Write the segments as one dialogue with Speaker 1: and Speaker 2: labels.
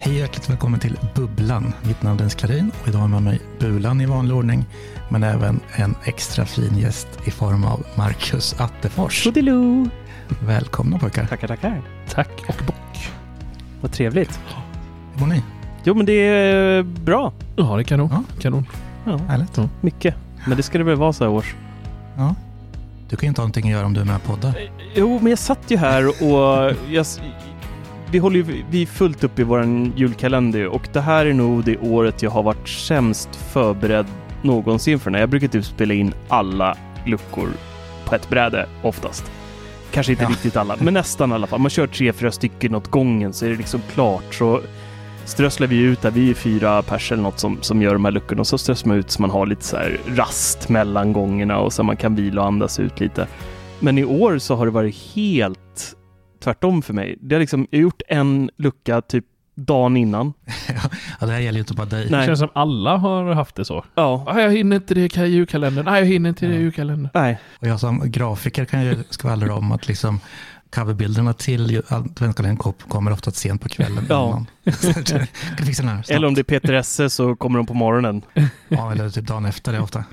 Speaker 1: Hej hjärtligt välkommen till Bubblan. Mitt namn är Jens Klarin och idag har jag med mig Bulan i vanlig ordning, men även en extra fin gäst i form av Marcus Attefors.
Speaker 2: Toodiloo!
Speaker 1: Välkomna pojkar.
Speaker 2: Tackar, tackar.
Speaker 1: Tack och bock.
Speaker 2: Vad trevligt.
Speaker 1: Hur mår ni?
Speaker 2: Jo, men det är eh, bra.
Speaker 3: Ja, det är kanon.
Speaker 1: Ja.
Speaker 3: kanon.
Speaker 2: Ja,
Speaker 1: Härligt.
Speaker 2: mycket. Men det ska det väl vara så här års.
Speaker 1: Du kan ju inte ha någonting att göra om du är med och poddar.
Speaker 2: Jo, men jag satt ju här och jag, s- vi håller ju vi är fullt upp i våran julkalender och det här är nog det året jag har varit sämst förberedd någonsin för när jag brukar typ spela in alla luckor på ett bräde oftast. Kanske inte
Speaker 1: Ja.
Speaker 2: riktigt alla, men nästan i alla fall. Man kör tre, fyra stycken åt gången så är det liksom klart. Så strösslar vi ut där, vi är fyra pers eller något som, som gör de här luckorna och så strösslar man ut så man har lite så här rast mellan gångerna och så man kan vila och andas ut lite. Men i år så har det varit helt tvärtom för mig. Det har liksom, jag har gjort en lucka typ dagen innan.
Speaker 1: Ja, det här gäller ju inte bara dig.
Speaker 2: Nej.
Speaker 3: Det känns som alla har haft det så.
Speaker 2: Ja.
Speaker 3: Ah, jag hinner inte det i julkalendern. Nej, jag hinner inte det i julkalendern.
Speaker 2: Nej.
Speaker 1: Och jag som grafiker kan ju skvallra om att liksom coverbilderna till ju- adventskalendern kom- kommer ofta sent på kvällen.
Speaker 2: Ja.
Speaker 1: innan. Så att du kan fixa den här snabbt.
Speaker 2: Eller om det är Peter Esse så kommer de på morgonen.
Speaker 1: Ja, eller typ dagen efter det ofta.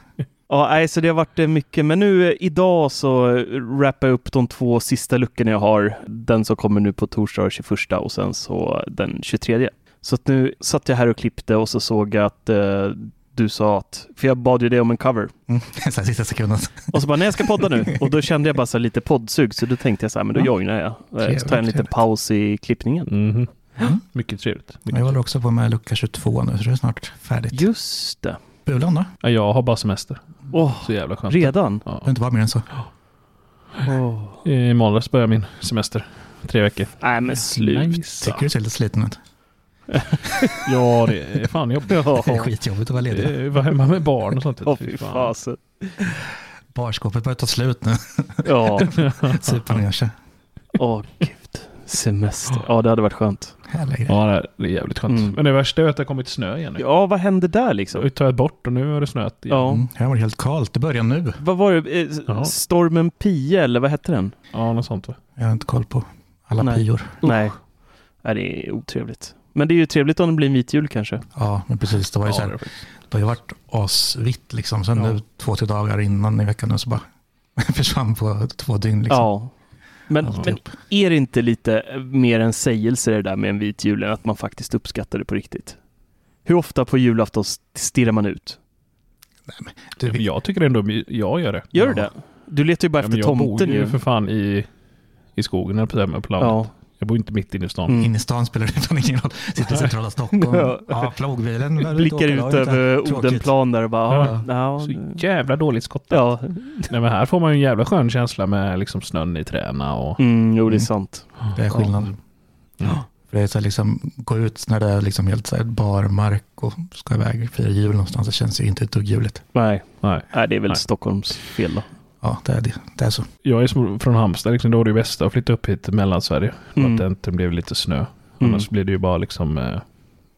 Speaker 2: Ja, nej, så det har varit eh, mycket. Men nu eh, idag så eh, wrappar jag upp de två sista luckorna jag har. Den som kommer nu på torsdag den 21 och sen så den 23. Så att nu satt jag här och klippte och så såg jag att eh, du sa att, för jag bad ju dig om en cover.
Speaker 1: Mm. Så här sista sekunden.
Speaker 2: Och så bara, nej jag ska podda nu. Och då kände jag bara så här lite poddsug, så då tänkte jag så här, men då joinar jag. Eh, Så tar jag en liten
Speaker 1: Trevligt.
Speaker 2: paus i klippningen.
Speaker 3: Mhm.
Speaker 1: Mm.
Speaker 3: Mycket trevligt.
Speaker 1: Jag
Speaker 3: Mycket.
Speaker 1: håller också på med lucka 22 nu, så det är snart färdigt.
Speaker 2: Just det.
Speaker 1: Bulan då?
Speaker 3: Ja, jag har bara semester.
Speaker 2: Åh,
Speaker 3: Så jävla skönt.
Speaker 2: redan?
Speaker 1: Det behöver
Speaker 3: Ja.
Speaker 1: inte vara mer än så.
Speaker 2: Åh.
Speaker 3: I måndags börjar min semester. Tre veckor.
Speaker 2: Nej men sluta.
Speaker 3: Nice.
Speaker 1: Tycker du ser lite sliten ut?
Speaker 3: Ja, det är fan jobbigt.
Speaker 2: Ja,
Speaker 1: Det är skitjobbigt att vara ledig.
Speaker 3: Eh, Vara hemma med barn och sånt.
Speaker 2: Åh, fy fasen.
Speaker 1: Barskåpet börjar ta slut nu.
Speaker 2: Ja.
Speaker 1: Supa ner sig.
Speaker 2: Åh gud. Semester. Ja, det hade varit skönt.
Speaker 1: Härliga grejer.
Speaker 3: Ja, det är- det är jävligt skönt.
Speaker 2: Mm.
Speaker 3: Men det värsta är att det har kommit snö igen nu.
Speaker 2: Ja, vad hände där
Speaker 3: Det har
Speaker 2: liksom?
Speaker 3: ju tagit bort och nu har det snöat igen.
Speaker 2: Ja.
Speaker 1: Mm. Här var det helt kallt. Det börjar nu.
Speaker 2: Vad var det? Eh, s-
Speaker 3: Ja.
Speaker 2: Stormen Pia, eller vad hette den?
Speaker 3: Ja, något sånt va?
Speaker 1: Jag har inte koll på alla
Speaker 2: Nej.
Speaker 1: pior.
Speaker 2: Nej. Nej, det är otrevligt. Men det är ju trevligt om det blir en vit jul kanske.
Speaker 1: Ja, men precis. Det var ju
Speaker 3: Ja,
Speaker 1: så
Speaker 3: det är
Speaker 1: här.
Speaker 3: faktiskt.
Speaker 1: Det har ju varit asvitt liksom. Sen
Speaker 3: Ja.
Speaker 1: nu två, tre dagar innan i veckan nu så bara försvann på två dygn liksom.
Speaker 2: Ja. Men, men
Speaker 1: Alltihop.
Speaker 2: är det inte lite eh, mer en sägelse det där med en vit jul än att man faktiskt uppskattar det på riktigt? Hur ofta på julafton stirrar man ut?
Speaker 1: Du, vi-
Speaker 3: Jag tycker ändå jag gör det.
Speaker 2: Gör
Speaker 1: Ja.
Speaker 2: du det? Du letar ju bara
Speaker 3: Ja,
Speaker 2: efter
Speaker 3: men jag
Speaker 2: tomten
Speaker 3: bor ju
Speaker 2: ju.
Speaker 3: för fan i, i skogen eller på det här med planet.
Speaker 2: Ja.
Speaker 3: Jag bor inte mitt inne i stan.
Speaker 2: Mm.
Speaker 1: Inne i stan spelar det fan ingen roll. Sitter i centrala Stockholm.
Speaker 2: Ja.
Speaker 1: Ja, plogbilen. där ute
Speaker 2: Blickar
Speaker 1: åker
Speaker 2: ut
Speaker 1: lagligt där.
Speaker 2: över
Speaker 1: Tråkigt.
Speaker 2: Odenplan där och bara, ja,
Speaker 3: Ja.
Speaker 2: ja,
Speaker 3: Så jävla dåligt skott.
Speaker 2: ja.
Speaker 3: Nej men här får man ju en jävla skön känsla med liksom snön i träna och...
Speaker 2: Mm, jo det är
Speaker 1: Mm.
Speaker 2: sant.
Speaker 1: Det är skillnad.
Speaker 3: Ja.
Speaker 1: Mm. För det är så här, liksom, gå ut när det är liksom helt så här barmark och ska iväg och fira jul någonstans. Det känns ju inte ett dugg juligt.
Speaker 2: Nej,
Speaker 3: Nej.
Speaker 2: Nej det är väl
Speaker 3: Nej.
Speaker 2: Stockholms fel då.
Speaker 1: Ja, det är, det. Det är så.
Speaker 3: Jag är som- från Halmstad, liksom, då var det ju bästa att flytta upp hit till Mellansverige. Mm. Att det inte blev lite snö.
Speaker 2: Mm.
Speaker 3: Annars blir det ju bara liksom eh,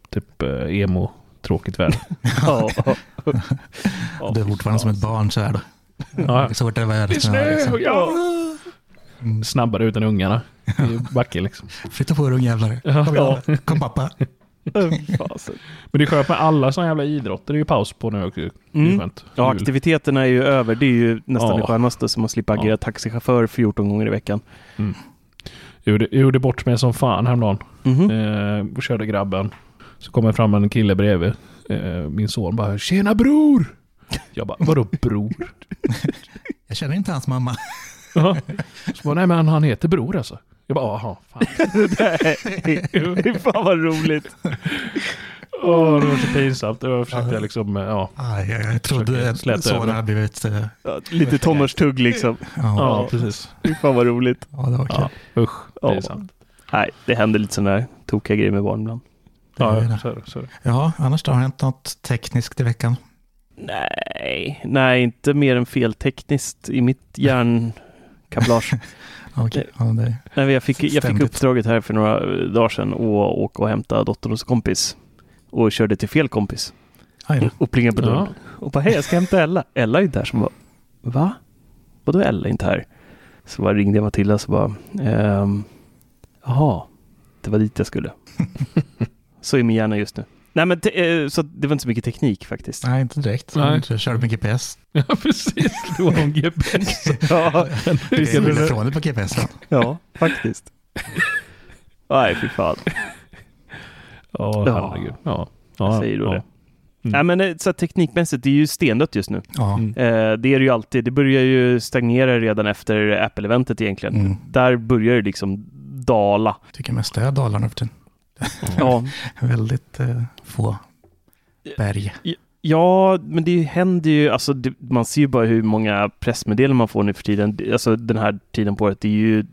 Speaker 3: typ eh, emo. Tråkigt väder.
Speaker 2: Ja. Ja,
Speaker 1: du är
Speaker 2: fy
Speaker 1: fortfarande som
Speaker 2: fan.
Speaker 1: ett barn så här då.
Speaker 3: ja.
Speaker 1: Så fort det är väder.
Speaker 3: Det är snö!
Speaker 1: liksom.
Speaker 3: Ja.
Speaker 1: Mm.
Speaker 3: Snabbare utan ungarna. i backen liksom.
Speaker 1: Flytta på er ungjävlar. Kom,
Speaker 3: Ja.
Speaker 1: igen. Kom pappa.
Speaker 2: Fasen.
Speaker 3: Men det är skönt med alla sådana jävla idrotter. Det är ju paus på nu också. Det är
Speaker 2: Mm.
Speaker 3: ju skönt.
Speaker 2: Ja,
Speaker 3: Jul.
Speaker 2: aktiviteterna är ju över. Det är ju nästan
Speaker 3: Ja.
Speaker 2: det skönaste som att slippa agera
Speaker 3: Ja.
Speaker 2: taxichaufför 14 gånger i veckan.
Speaker 3: gjorde, gjorde bort mig som fan häromdagen.
Speaker 2: Mhm.
Speaker 3: Eh, och körde grabben. Så kommer fram en kille bredvid. Eh, min son bara “Tjena bror!” Jag bara “Vadå bror?”
Speaker 1: Jag känner inte hans mamma.
Speaker 3: Ja. Så bara “Nej men han heter bror alltså”. Jag bara “Jaha, fan”.
Speaker 2: Nej, fan vad roligt.
Speaker 3: Åh, det var så pinsamt. Då försökte jag liksom, eh, ja.
Speaker 1: Aj, jag trodde
Speaker 3: Försöker släta
Speaker 1: sonen
Speaker 3: över.
Speaker 1: hade blivit... eh,
Speaker 2: Ja, Lite tonårstugg liksom.
Speaker 1: Ja,
Speaker 3: Ja, precis.
Speaker 2: Fy Fan vad roligt.
Speaker 1: ja, det var kul.
Speaker 3: Ja. Usch,
Speaker 2: Ja.
Speaker 3: pinsamt.
Speaker 2: Nej, det händer lite sådana där tokiga grejer med barn ibland.
Speaker 1: Det är
Speaker 3: Ja,
Speaker 1: det.
Speaker 3: så är det, så är det.
Speaker 1: Ja, annars då har det hänt något tekniskt i veckan.
Speaker 2: Nej, nej, inte mer än feltekniskt i mitt hjärnkablage.
Speaker 1: Ja, okej. Ja, det,
Speaker 2: Nej, men jag, fick, jag fick
Speaker 1: Ständigt.
Speaker 2: uppdraget här för några eh, dagar sedan att åka och hämta dottern hos kompis och körde till fel kompis
Speaker 1: aj
Speaker 3: Mm.
Speaker 1: då.
Speaker 2: och plingade på dörren
Speaker 3: Ja.
Speaker 2: och bara hej, jag ska hämta Ella. Ella är inte här. Som bara, va? Vadå Ella är inte här? Så bara ringde jag Matilda så bara, ehm, jaha, det var dit jag skulle. så är min hjärna just nu. Nej, men te- eh, så att det var inte så mycket teknik faktiskt.
Speaker 1: Nej, inte direkt.
Speaker 3: Nej.
Speaker 1: Jag körde med GPS.
Speaker 3: Ja, precis. Det var om GPS.
Speaker 2: Ja,
Speaker 1: Det
Speaker 3: Vilken-
Speaker 1: är från på GPS. va?
Speaker 2: ja faktiskt. Nej, fy fan.
Speaker 3: Ja,
Speaker 2: Ja.
Speaker 3: herregud. Ja. ja
Speaker 2: Jag säger då
Speaker 3: ja.
Speaker 2: det. Nej, men eh, så här, teknikmässigt, det är ju stendött just nu.
Speaker 1: Ja,
Speaker 3: Mm.
Speaker 2: Eh, det är det ju alltid. Det börjar ju stagnera redan efter Apple-eventet egentligen.
Speaker 1: Mm.
Speaker 2: Där börjar det liksom dala.
Speaker 1: tycker mest det är Dalarna för tiden.
Speaker 2: Ja,
Speaker 1: Väldigt eh, få berg.
Speaker 2: ja men det händer ju, alltså det, man ser ju bara hur många pressmeddelanden man får nu för tiden. Det- Alltså den här tiden på året, det är ju,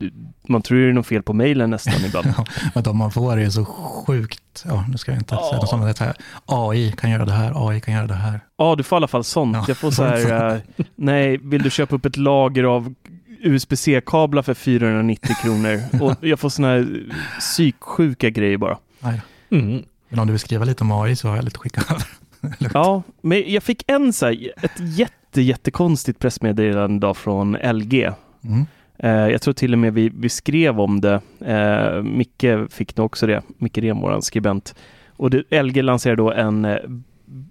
Speaker 2: man tror ju det är något fel på mejlen nästan ibland.
Speaker 1: Ja, men de man får är ju så sjukt, ja nu ska jag inte säga något sånt, men det här, AI kan göra det här, AI kan göra det här.
Speaker 2: Ja, du får i alla fall sånt.
Speaker 1: Ja,
Speaker 2: Jag får så här, eh, nej, vill du köpa upp ett lager av USB-C-kablar för 490 kronor? Och jag får såna här eh, psyksjuka grejer bara.
Speaker 1: Nej.
Speaker 3: Mm.
Speaker 1: Men om du vill skriva lite om AI så har jag lite att skicka över.
Speaker 2: Ja, men jag fick en så här, ett jätte, jättekonstigt pressmeddelande idag från LG.
Speaker 1: Mm.
Speaker 2: Eh, jag tror till och med vi, vi skrev om det. Eh, Micke fick nog också det, Micke Rehn, vår skribent. Och det, LG lanserar då en eh,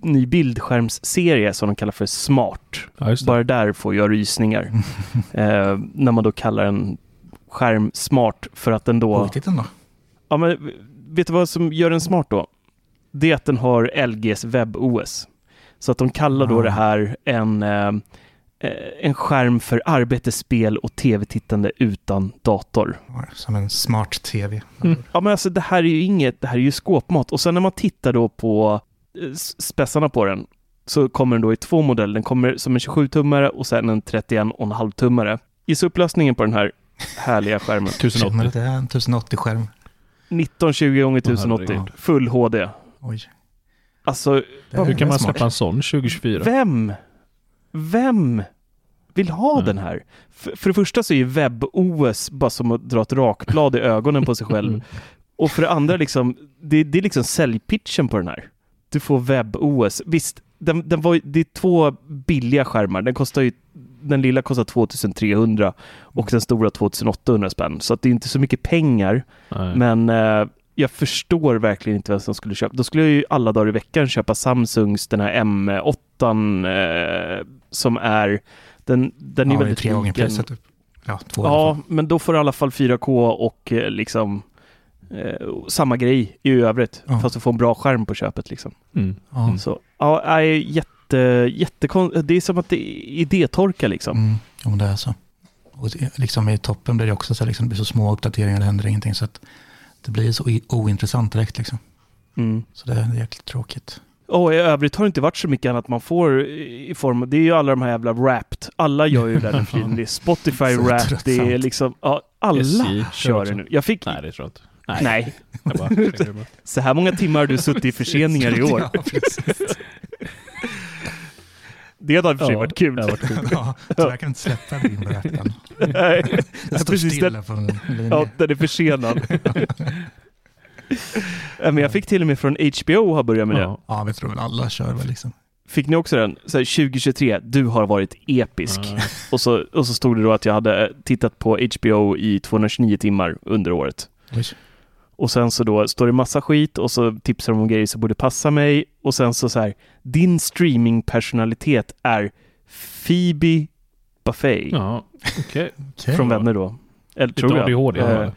Speaker 2: ny bildskärmsserie som de kallar för Smart.
Speaker 3: Ja, just det.
Speaker 2: Bara där får jag rysningar. eh, när man då kallar en skärm smart för att den då...
Speaker 1: Titeln då?
Speaker 2: Ja, men, vet du vad som gör den smart då? Det är att den har LGs webb-OS. Så att de kallar då
Speaker 1: Ah.
Speaker 2: det här en, eh, eh, en skärm för arbete, spel och tv-tittande utan dator.
Speaker 1: Ja, Som en smart tv.
Speaker 2: Ja, men alltså det här är ju inget, det här är ju skåpmat. Och sen när man tittar då på eh, s- spetsarna på den så kommer den då i två modeller. Den kommer som en 27-tummare och sen en 31,5-tummare. Gissa upplösningen på den här härliga skärmen.
Speaker 1: Känner du
Speaker 3: 1080.
Speaker 1: att Det är en 1080-skärm.
Speaker 2: 1920 gånger
Speaker 3: Åh,
Speaker 2: 1080
Speaker 3: herregud.
Speaker 2: full HD.
Speaker 1: Oj.
Speaker 2: Alltså,
Speaker 1: det är
Speaker 3: Hur kan man
Speaker 1: smart.
Speaker 3: släppa en sån 2024?
Speaker 2: vem? Vem vill ha
Speaker 3: Mm.
Speaker 2: den här? För, för det första så är ju webb-OS bara som att dra ett rakblad i ögonen på sig
Speaker 3: Mm.
Speaker 2: själv. Och för det andra, liksom, det, det är liksom säljpitchen på den här. Du får webb-OS. Visst, den, den var, ju- det är två billiga skärmar. Den, kostar ju, den lilla kostar 2300 och den stora 2800 spänn. Så att det är inte så mycket pengar.
Speaker 3: Nej.
Speaker 2: Men eh, jag förstår verkligen inte vem som skulle köpa. Då skulle jag ju alla dagar i veckan köpa Samsungs den här M8 eh, som är den, den är
Speaker 1: Ja, det är
Speaker 2: väldigt
Speaker 1: tre gånger
Speaker 2: lik en-
Speaker 1: priset. Typ. Ja, två i alla
Speaker 2: Ja,
Speaker 1: fall.
Speaker 2: men då får du i alla fall 4K och eh, liksom eh, samma grej i övrigt.
Speaker 1: Ja.
Speaker 2: Fast du får en bra skärm på köpet liksom.
Speaker 3: Mm.
Speaker 1: Ja.
Speaker 2: Så ja, nej, jätte, jättekon... Det är som att det är idétorka liksom.
Speaker 1: Mm, om det är så. Och det- liksom i toppen blir det också så, här, liksom, det blir så små uppdateringar, det händer ingenting. Så att det blir så i- ointressant direkt. Liksom.
Speaker 2: Mm.
Speaker 1: Så det är jäkligt tråkigt.
Speaker 2: Och i övrigt har det inte varit så mycket annat man får i i form av, det är ju alla de här jävla Wrapped. Alla gör ju det där nu för tiden. Det är Spotify
Speaker 1: Så
Speaker 2: Wrapped, det är
Speaker 1: tröttsamt.
Speaker 2: liksom, ja, alla
Speaker 3: SJ kör
Speaker 2: kör det
Speaker 3: också.
Speaker 2: nu. Jag fick,
Speaker 3: Nej, det tror jag inte.
Speaker 2: nej.
Speaker 3: Jag bara, tänker bara.
Speaker 2: så här många timmar har du suttit i förseningar i år.
Speaker 1: Ja, precis.
Speaker 2: Det hade i och för sig
Speaker 3: Ja,
Speaker 2: varit kul.
Speaker 3: det hade varit kul.
Speaker 1: ja, tyvärr kan du inte släppa din berättan.
Speaker 2: Nej.
Speaker 1: Den står
Speaker 2: precis,
Speaker 1: stilla på en linje.
Speaker 2: Ja, den är försenad. Nej, Men jag fick till och med från HBO ha börjat med det.
Speaker 3: Ja.
Speaker 1: Ja, vi tror väl alla kör väl liksom.
Speaker 2: Fick ni också den? Så här, 2023, du har varit episk.
Speaker 3: Ja.
Speaker 2: Och, så, och så stod det då att jag hade eh, tittat på HBO i 229 timmar under året.
Speaker 1: Oj.
Speaker 2: Och sen så då står det massa skit och så tipsar de om grejer som borde passa mig. Och sen så så här, din streamingpersonalitet är Phoebe Buffay.
Speaker 3: Ja, okej.
Speaker 1: Okej.
Speaker 2: Från vänner då. Eller tror
Speaker 3: Lite
Speaker 2: jag.
Speaker 3: ADHD.
Speaker 2: Eh,
Speaker 3: här.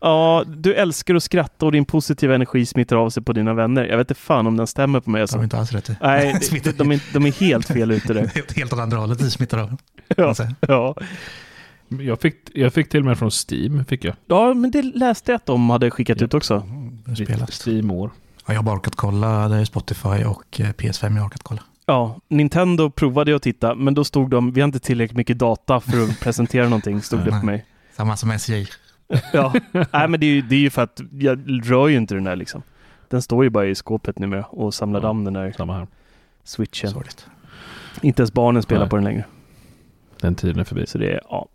Speaker 2: Ja, du älskar att skratta och din positiva energi smittar av sig på dina vänner. Jag vet inte fan om den stämmer på mig.
Speaker 1: Det
Speaker 2: Alltså.
Speaker 1: har vi inte alls rätt i.
Speaker 2: Nej, de,
Speaker 1: Smittar-
Speaker 2: de, är, de är helt fel ute där.
Speaker 1: Helt, helt åt andra hållet, vi smittar av.
Speaker 2: Ja,
Speaker 1: Alltså.
Speaker 2: ja.
Speaker 3: Jag fick, jag fick till och med från Steam, fick jag.
Speaker 2: ja, men det läste jag att de hade skickat
Speaker 3: Ja.
Speaker 2: ut också.
Speaker 1: Det spelas.
Speaker 3: Steam-år.
Speaker 1: Ja, jag har bara orkat kolla, det är Spotify och eh, PS5 jag har orkat kolla.
Speaker 2: Ja, Nintendo provade jag att titta, men då stod de, vi har inte tillräckligt mycket data för att presentera någonting, stod det på mig.
Speaker 1: Samma som SJ.
Speaker 2: Ja, nej men det är, ju, det är ju för att jag rör ju inte den där liksom. Den står ju bara i skåpet numera och samlar
Speaker 3: Ja.
Speaker 2: damm den där
Speaker 3: Samma här.
Speaker 2: switchen.
Speaker 1: Sorgligt.
Speaker 2: Inte ens barnen spelar
Speaker 3: Nej.
Speaker 2: på den längre.
Speaker 3: Den tiden är förbi.
Speaker 2: Så det är, ja.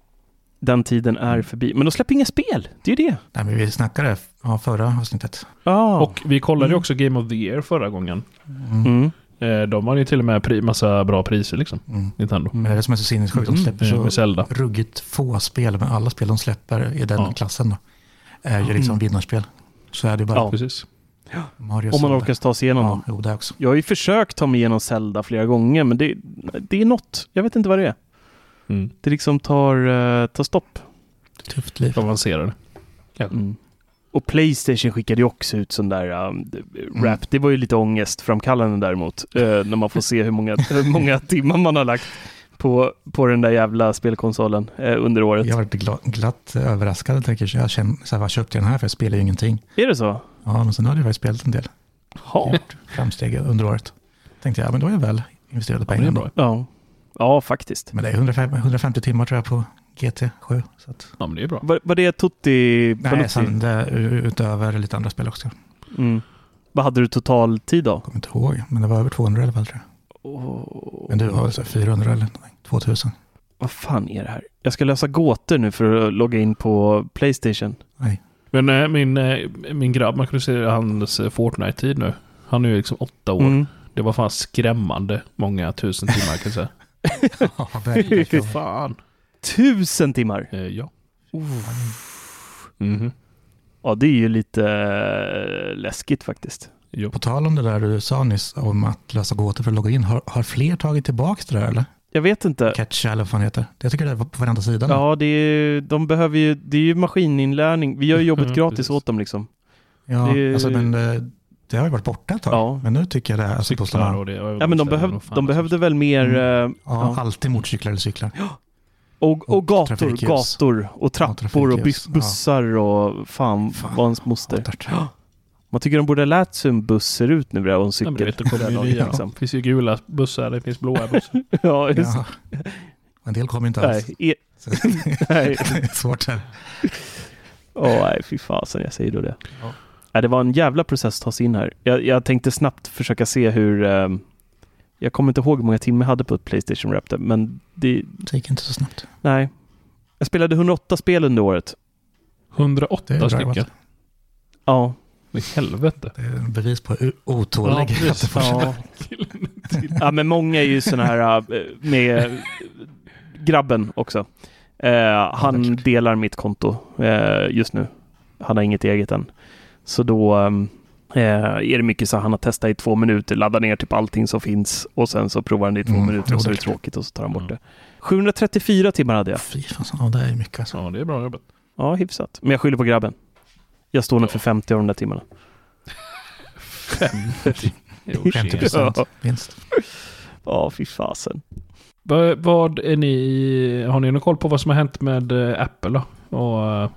Speaker 2: Den tiden är förbi. Men de släpper inga spel, det är ju det.
Speaker 1: Nej, men vi snackade ja, förra avsnittet.
Speaker 2: Ah.
Speaker 3: Och vi kollade ju
Speaker 2: Mm.
Speaker 3: också Game of the Year förra gången.
Speaker 2: Mm.
Speaker 3: Eh, De har ju till och med pri- massa bra priser liksom.
Speaker 1: Mm.
Speaker 3: Nintendo.
Speaker 1: Men det är det som är så sinnessjukt. De
Speaker 2: Mm.
Speaker 1: släpper
Speaker 3: Eh,
Speaker 1: så
Speaker 3: Med Zelda.
Speaker 1: ruggigt få spel, men alla spel de släpper i den
Speaker 3: Ja.
Speaker 1: klassen då, är ju liksom
Speaker 2: Mm.
Speaker 1: vinnarspel. Så är det ju bara.
Speaker 2: Ja.
Speaker 3: Precis.
Speaker 1: Mario
Speaker 2: Om man
Speaker 1: Zelda.
Speaker 2: orkar ta sig igenom
Speaker 1: Ja,
Speaker 2: dem.
Speaker 1: jo, det också.
Speaker 2: Jag har ju försökt ta mig igenom Zelda flera gånger, men det, det är något. Jag vet inte vad det är.
Speaker 3: Mm.
Speaker 2: Det liksom tar, eh, tar stopp.
Speaker 1: Tufft liv.
Speaker 3: Avancerade. Kanske.
Speaker 2: Mm. Och Playstation skickade ju också ut sån där um, rap. Det var ju lite ångestframkallande däremot. eh, när man får se hur många, hur många timmar man har lagt på, på den där jävla spelkonsolen eh, under året.
Speaker 1: Jag har varit gla- glatt överraskad. Jag tänker, jag känner, så här, vad köpte jag den här för? Jag spelar ju ingenting.
Speaker 2: Är det så?
Speaker 1: Ja, men sen hade jag faktiskt spelat en del.
Speaker 2: Ja.
Speaker 1: Framsteg under året. Tänkte jag, ja, men då är jag väl investerade
Speaker 3: Ja, men det
Speaker 1: pengar.
Speaker 3: är
Speaker 1: då.
Speaker 3: bra.
Speaker 2: Ja, ja faktiskt.
Speaker 1: Men det är 150, 150 timmar tror jag på GT7. Så att,
Speaker 3: Ja, men det är bra.
Speaker 2: Var, var det Tutti
Speaker 1: nej, sen det, utöver lite andra spel också. Jag
Speaker 2: Mm. Vad hade du total tid då?
Speaker 1: kommer inte ihåg, men det var över 200 i alla fall tror jag. Men du har så här 400 eller någonting, 2000.
Speaker 2: Vad fan är det här? Jag ska lösa gåtor nu för att logga in på Playstation.
Speaker 3: Men eh, min, eh, min grabb, man kunde se hans eh, Fortnite-tid nu. Han är ju liksom åtta år.
Speaker 2: Mm.
Speaker 3: Det var fan skrämmande många tusen timmar kan jag säga.
Speaker 1: Ja, verkligen.
Speaker 3: fan.
Speaker 2: Tusen timmar!
Speaker 3: Eh, ja.
Speaker 1: Uff.
Speaker 3: Mhm.
Speaker 2: Ja, det är ju lite eh, läskigt faktiskt.
Speaker 3: Jo.
Speaker 1: På tal om det där du sa nyss om att lösa gåtor för att logga in, har, har fler tagit tillbaka det där eller?
Speaker 2: Jag vet inte.
Speaker 1: Catcha eller vad fan det heter. Jag tycker det var på varenda sida. nu.
Speaker 2: Ja, det är, ju- de behöver ju, det är ju maskininlärning. Vi gör ju jobbet
Speaker 3: Mm,
Speaker 2: gratis
Speaker 3: precis.
Speaker 2: åt dem liksom.
Speaker 1: ja
Speaker 2: det-
Speaker 1: alltså, men eh, det har ju varit borta ett tag.
Speaker 2: Ja.
Speaker 1: Men nu tycker jag det, är- alltså på
Speaker 3: Cyklar alltså.
Speaker 1: sådana,
Speaker 3: och det.
Speaker 2: Ja, men de, behöv, de behövde väl mer... eh,
Speaker 1: ja,
Speaker 2: Ja.
Speaker 1: alltid motorcyklar eller cyklar.
Speaker 2: Och, och
Speaker 1: Och
Speaker 2: gator,
Speaker 1: trafikljus.
Speaker 2: gator och trappor och
Speaker 1: trafikljus.
Speaker 2: bus, bussar och fan,
Speaker 1: Fan,
Speaker 2: vad ens moster.
Speaker 1: hatar
Speaker 2: Ja. Man tycker de borde ha lärt sig hur en buss ser ut nu vid det här och en
Speaker 3: Ja, men du
Speaker 2: cykel.
Speaker 3: vet, det kommer ju nya.
Speaker 2: liksom.
Speaker 3: Det finns ju gula bussar, det finns blåa bussar.
Speaker 2: Ja, just,
Speaker 1: Ja. En del kommer inte alls.
Speaker 2: nej, e,
Speaker 1: Så
Speaker 2: nej.
Speaker 1: det är svårt här.
Speaker 2: Åh, nej, fy fasen, jag säger då det.
Speaker 1: Ja.
Speaker 2: Ja, det var en jävla process att ta sig in här. Jag, jag tänkte snabbt försöka se hur... ehm, jag kommer inte ihåg hur många timmar jag hade på ett Playstation Raptor, men det...
Speaker 1: Det gick inte så snabbt.
Speaker 2: Nej. Jag spelade 108 spel under året.
Speaker 1: Det är
Speaker 3: 108
Speaker 1: bra
Speaker 3: stycken.
Speaker 1: jobbat.
Speaker 2: Ja.
Speaker 3: I helvete.
Speaker 1: Det är bevis på hur otålig.
Speaker 3: Ja, precis.
Speaker 2: Ja. ja, men många är ju sådana här eh, med grabben också. Eh,
Speaker 1: det är
Speaker 2: han
Speaker 1: klart.
Speaker 2: delar mitt konto eh, just nu. Han har inget eget än. Så då ehm, eh, är det mycket så här, han har testat i två minuter, laddar ner typ allting som finns och sen så provar han det i två
Speaker 1: Mm,
Speaker 2: minuter och så är det
Speaker 1: otäckt.
Speaker 2: tråkigt och så tar han bort
Speaker 3: Mm.
Speaker 2: det. 734 timmar hade jag.
Speaker 1: Fy fan, ja, det är mycket alltså.
Speaker 3: Ja, det är bra jobbat.
Speaker 2: Ja, hyfsat. Men jag skyller på grabben. Jag står nog
Speaker 3: Ja.
Speaker 2: för 50 av de där timmarna.
Speaker 3: Jo,
Speaker 1: 50
Speaker 3: shit.
Speaker 1: procent
Speaker 2: Ja.
Speaker 1: vinst.
Speaker 2: Ja, fy fasen.
Speaker 3: Vad- Vad är ni... Har ni någon koll på vad som har hänt med eh, Apple då? Och eh,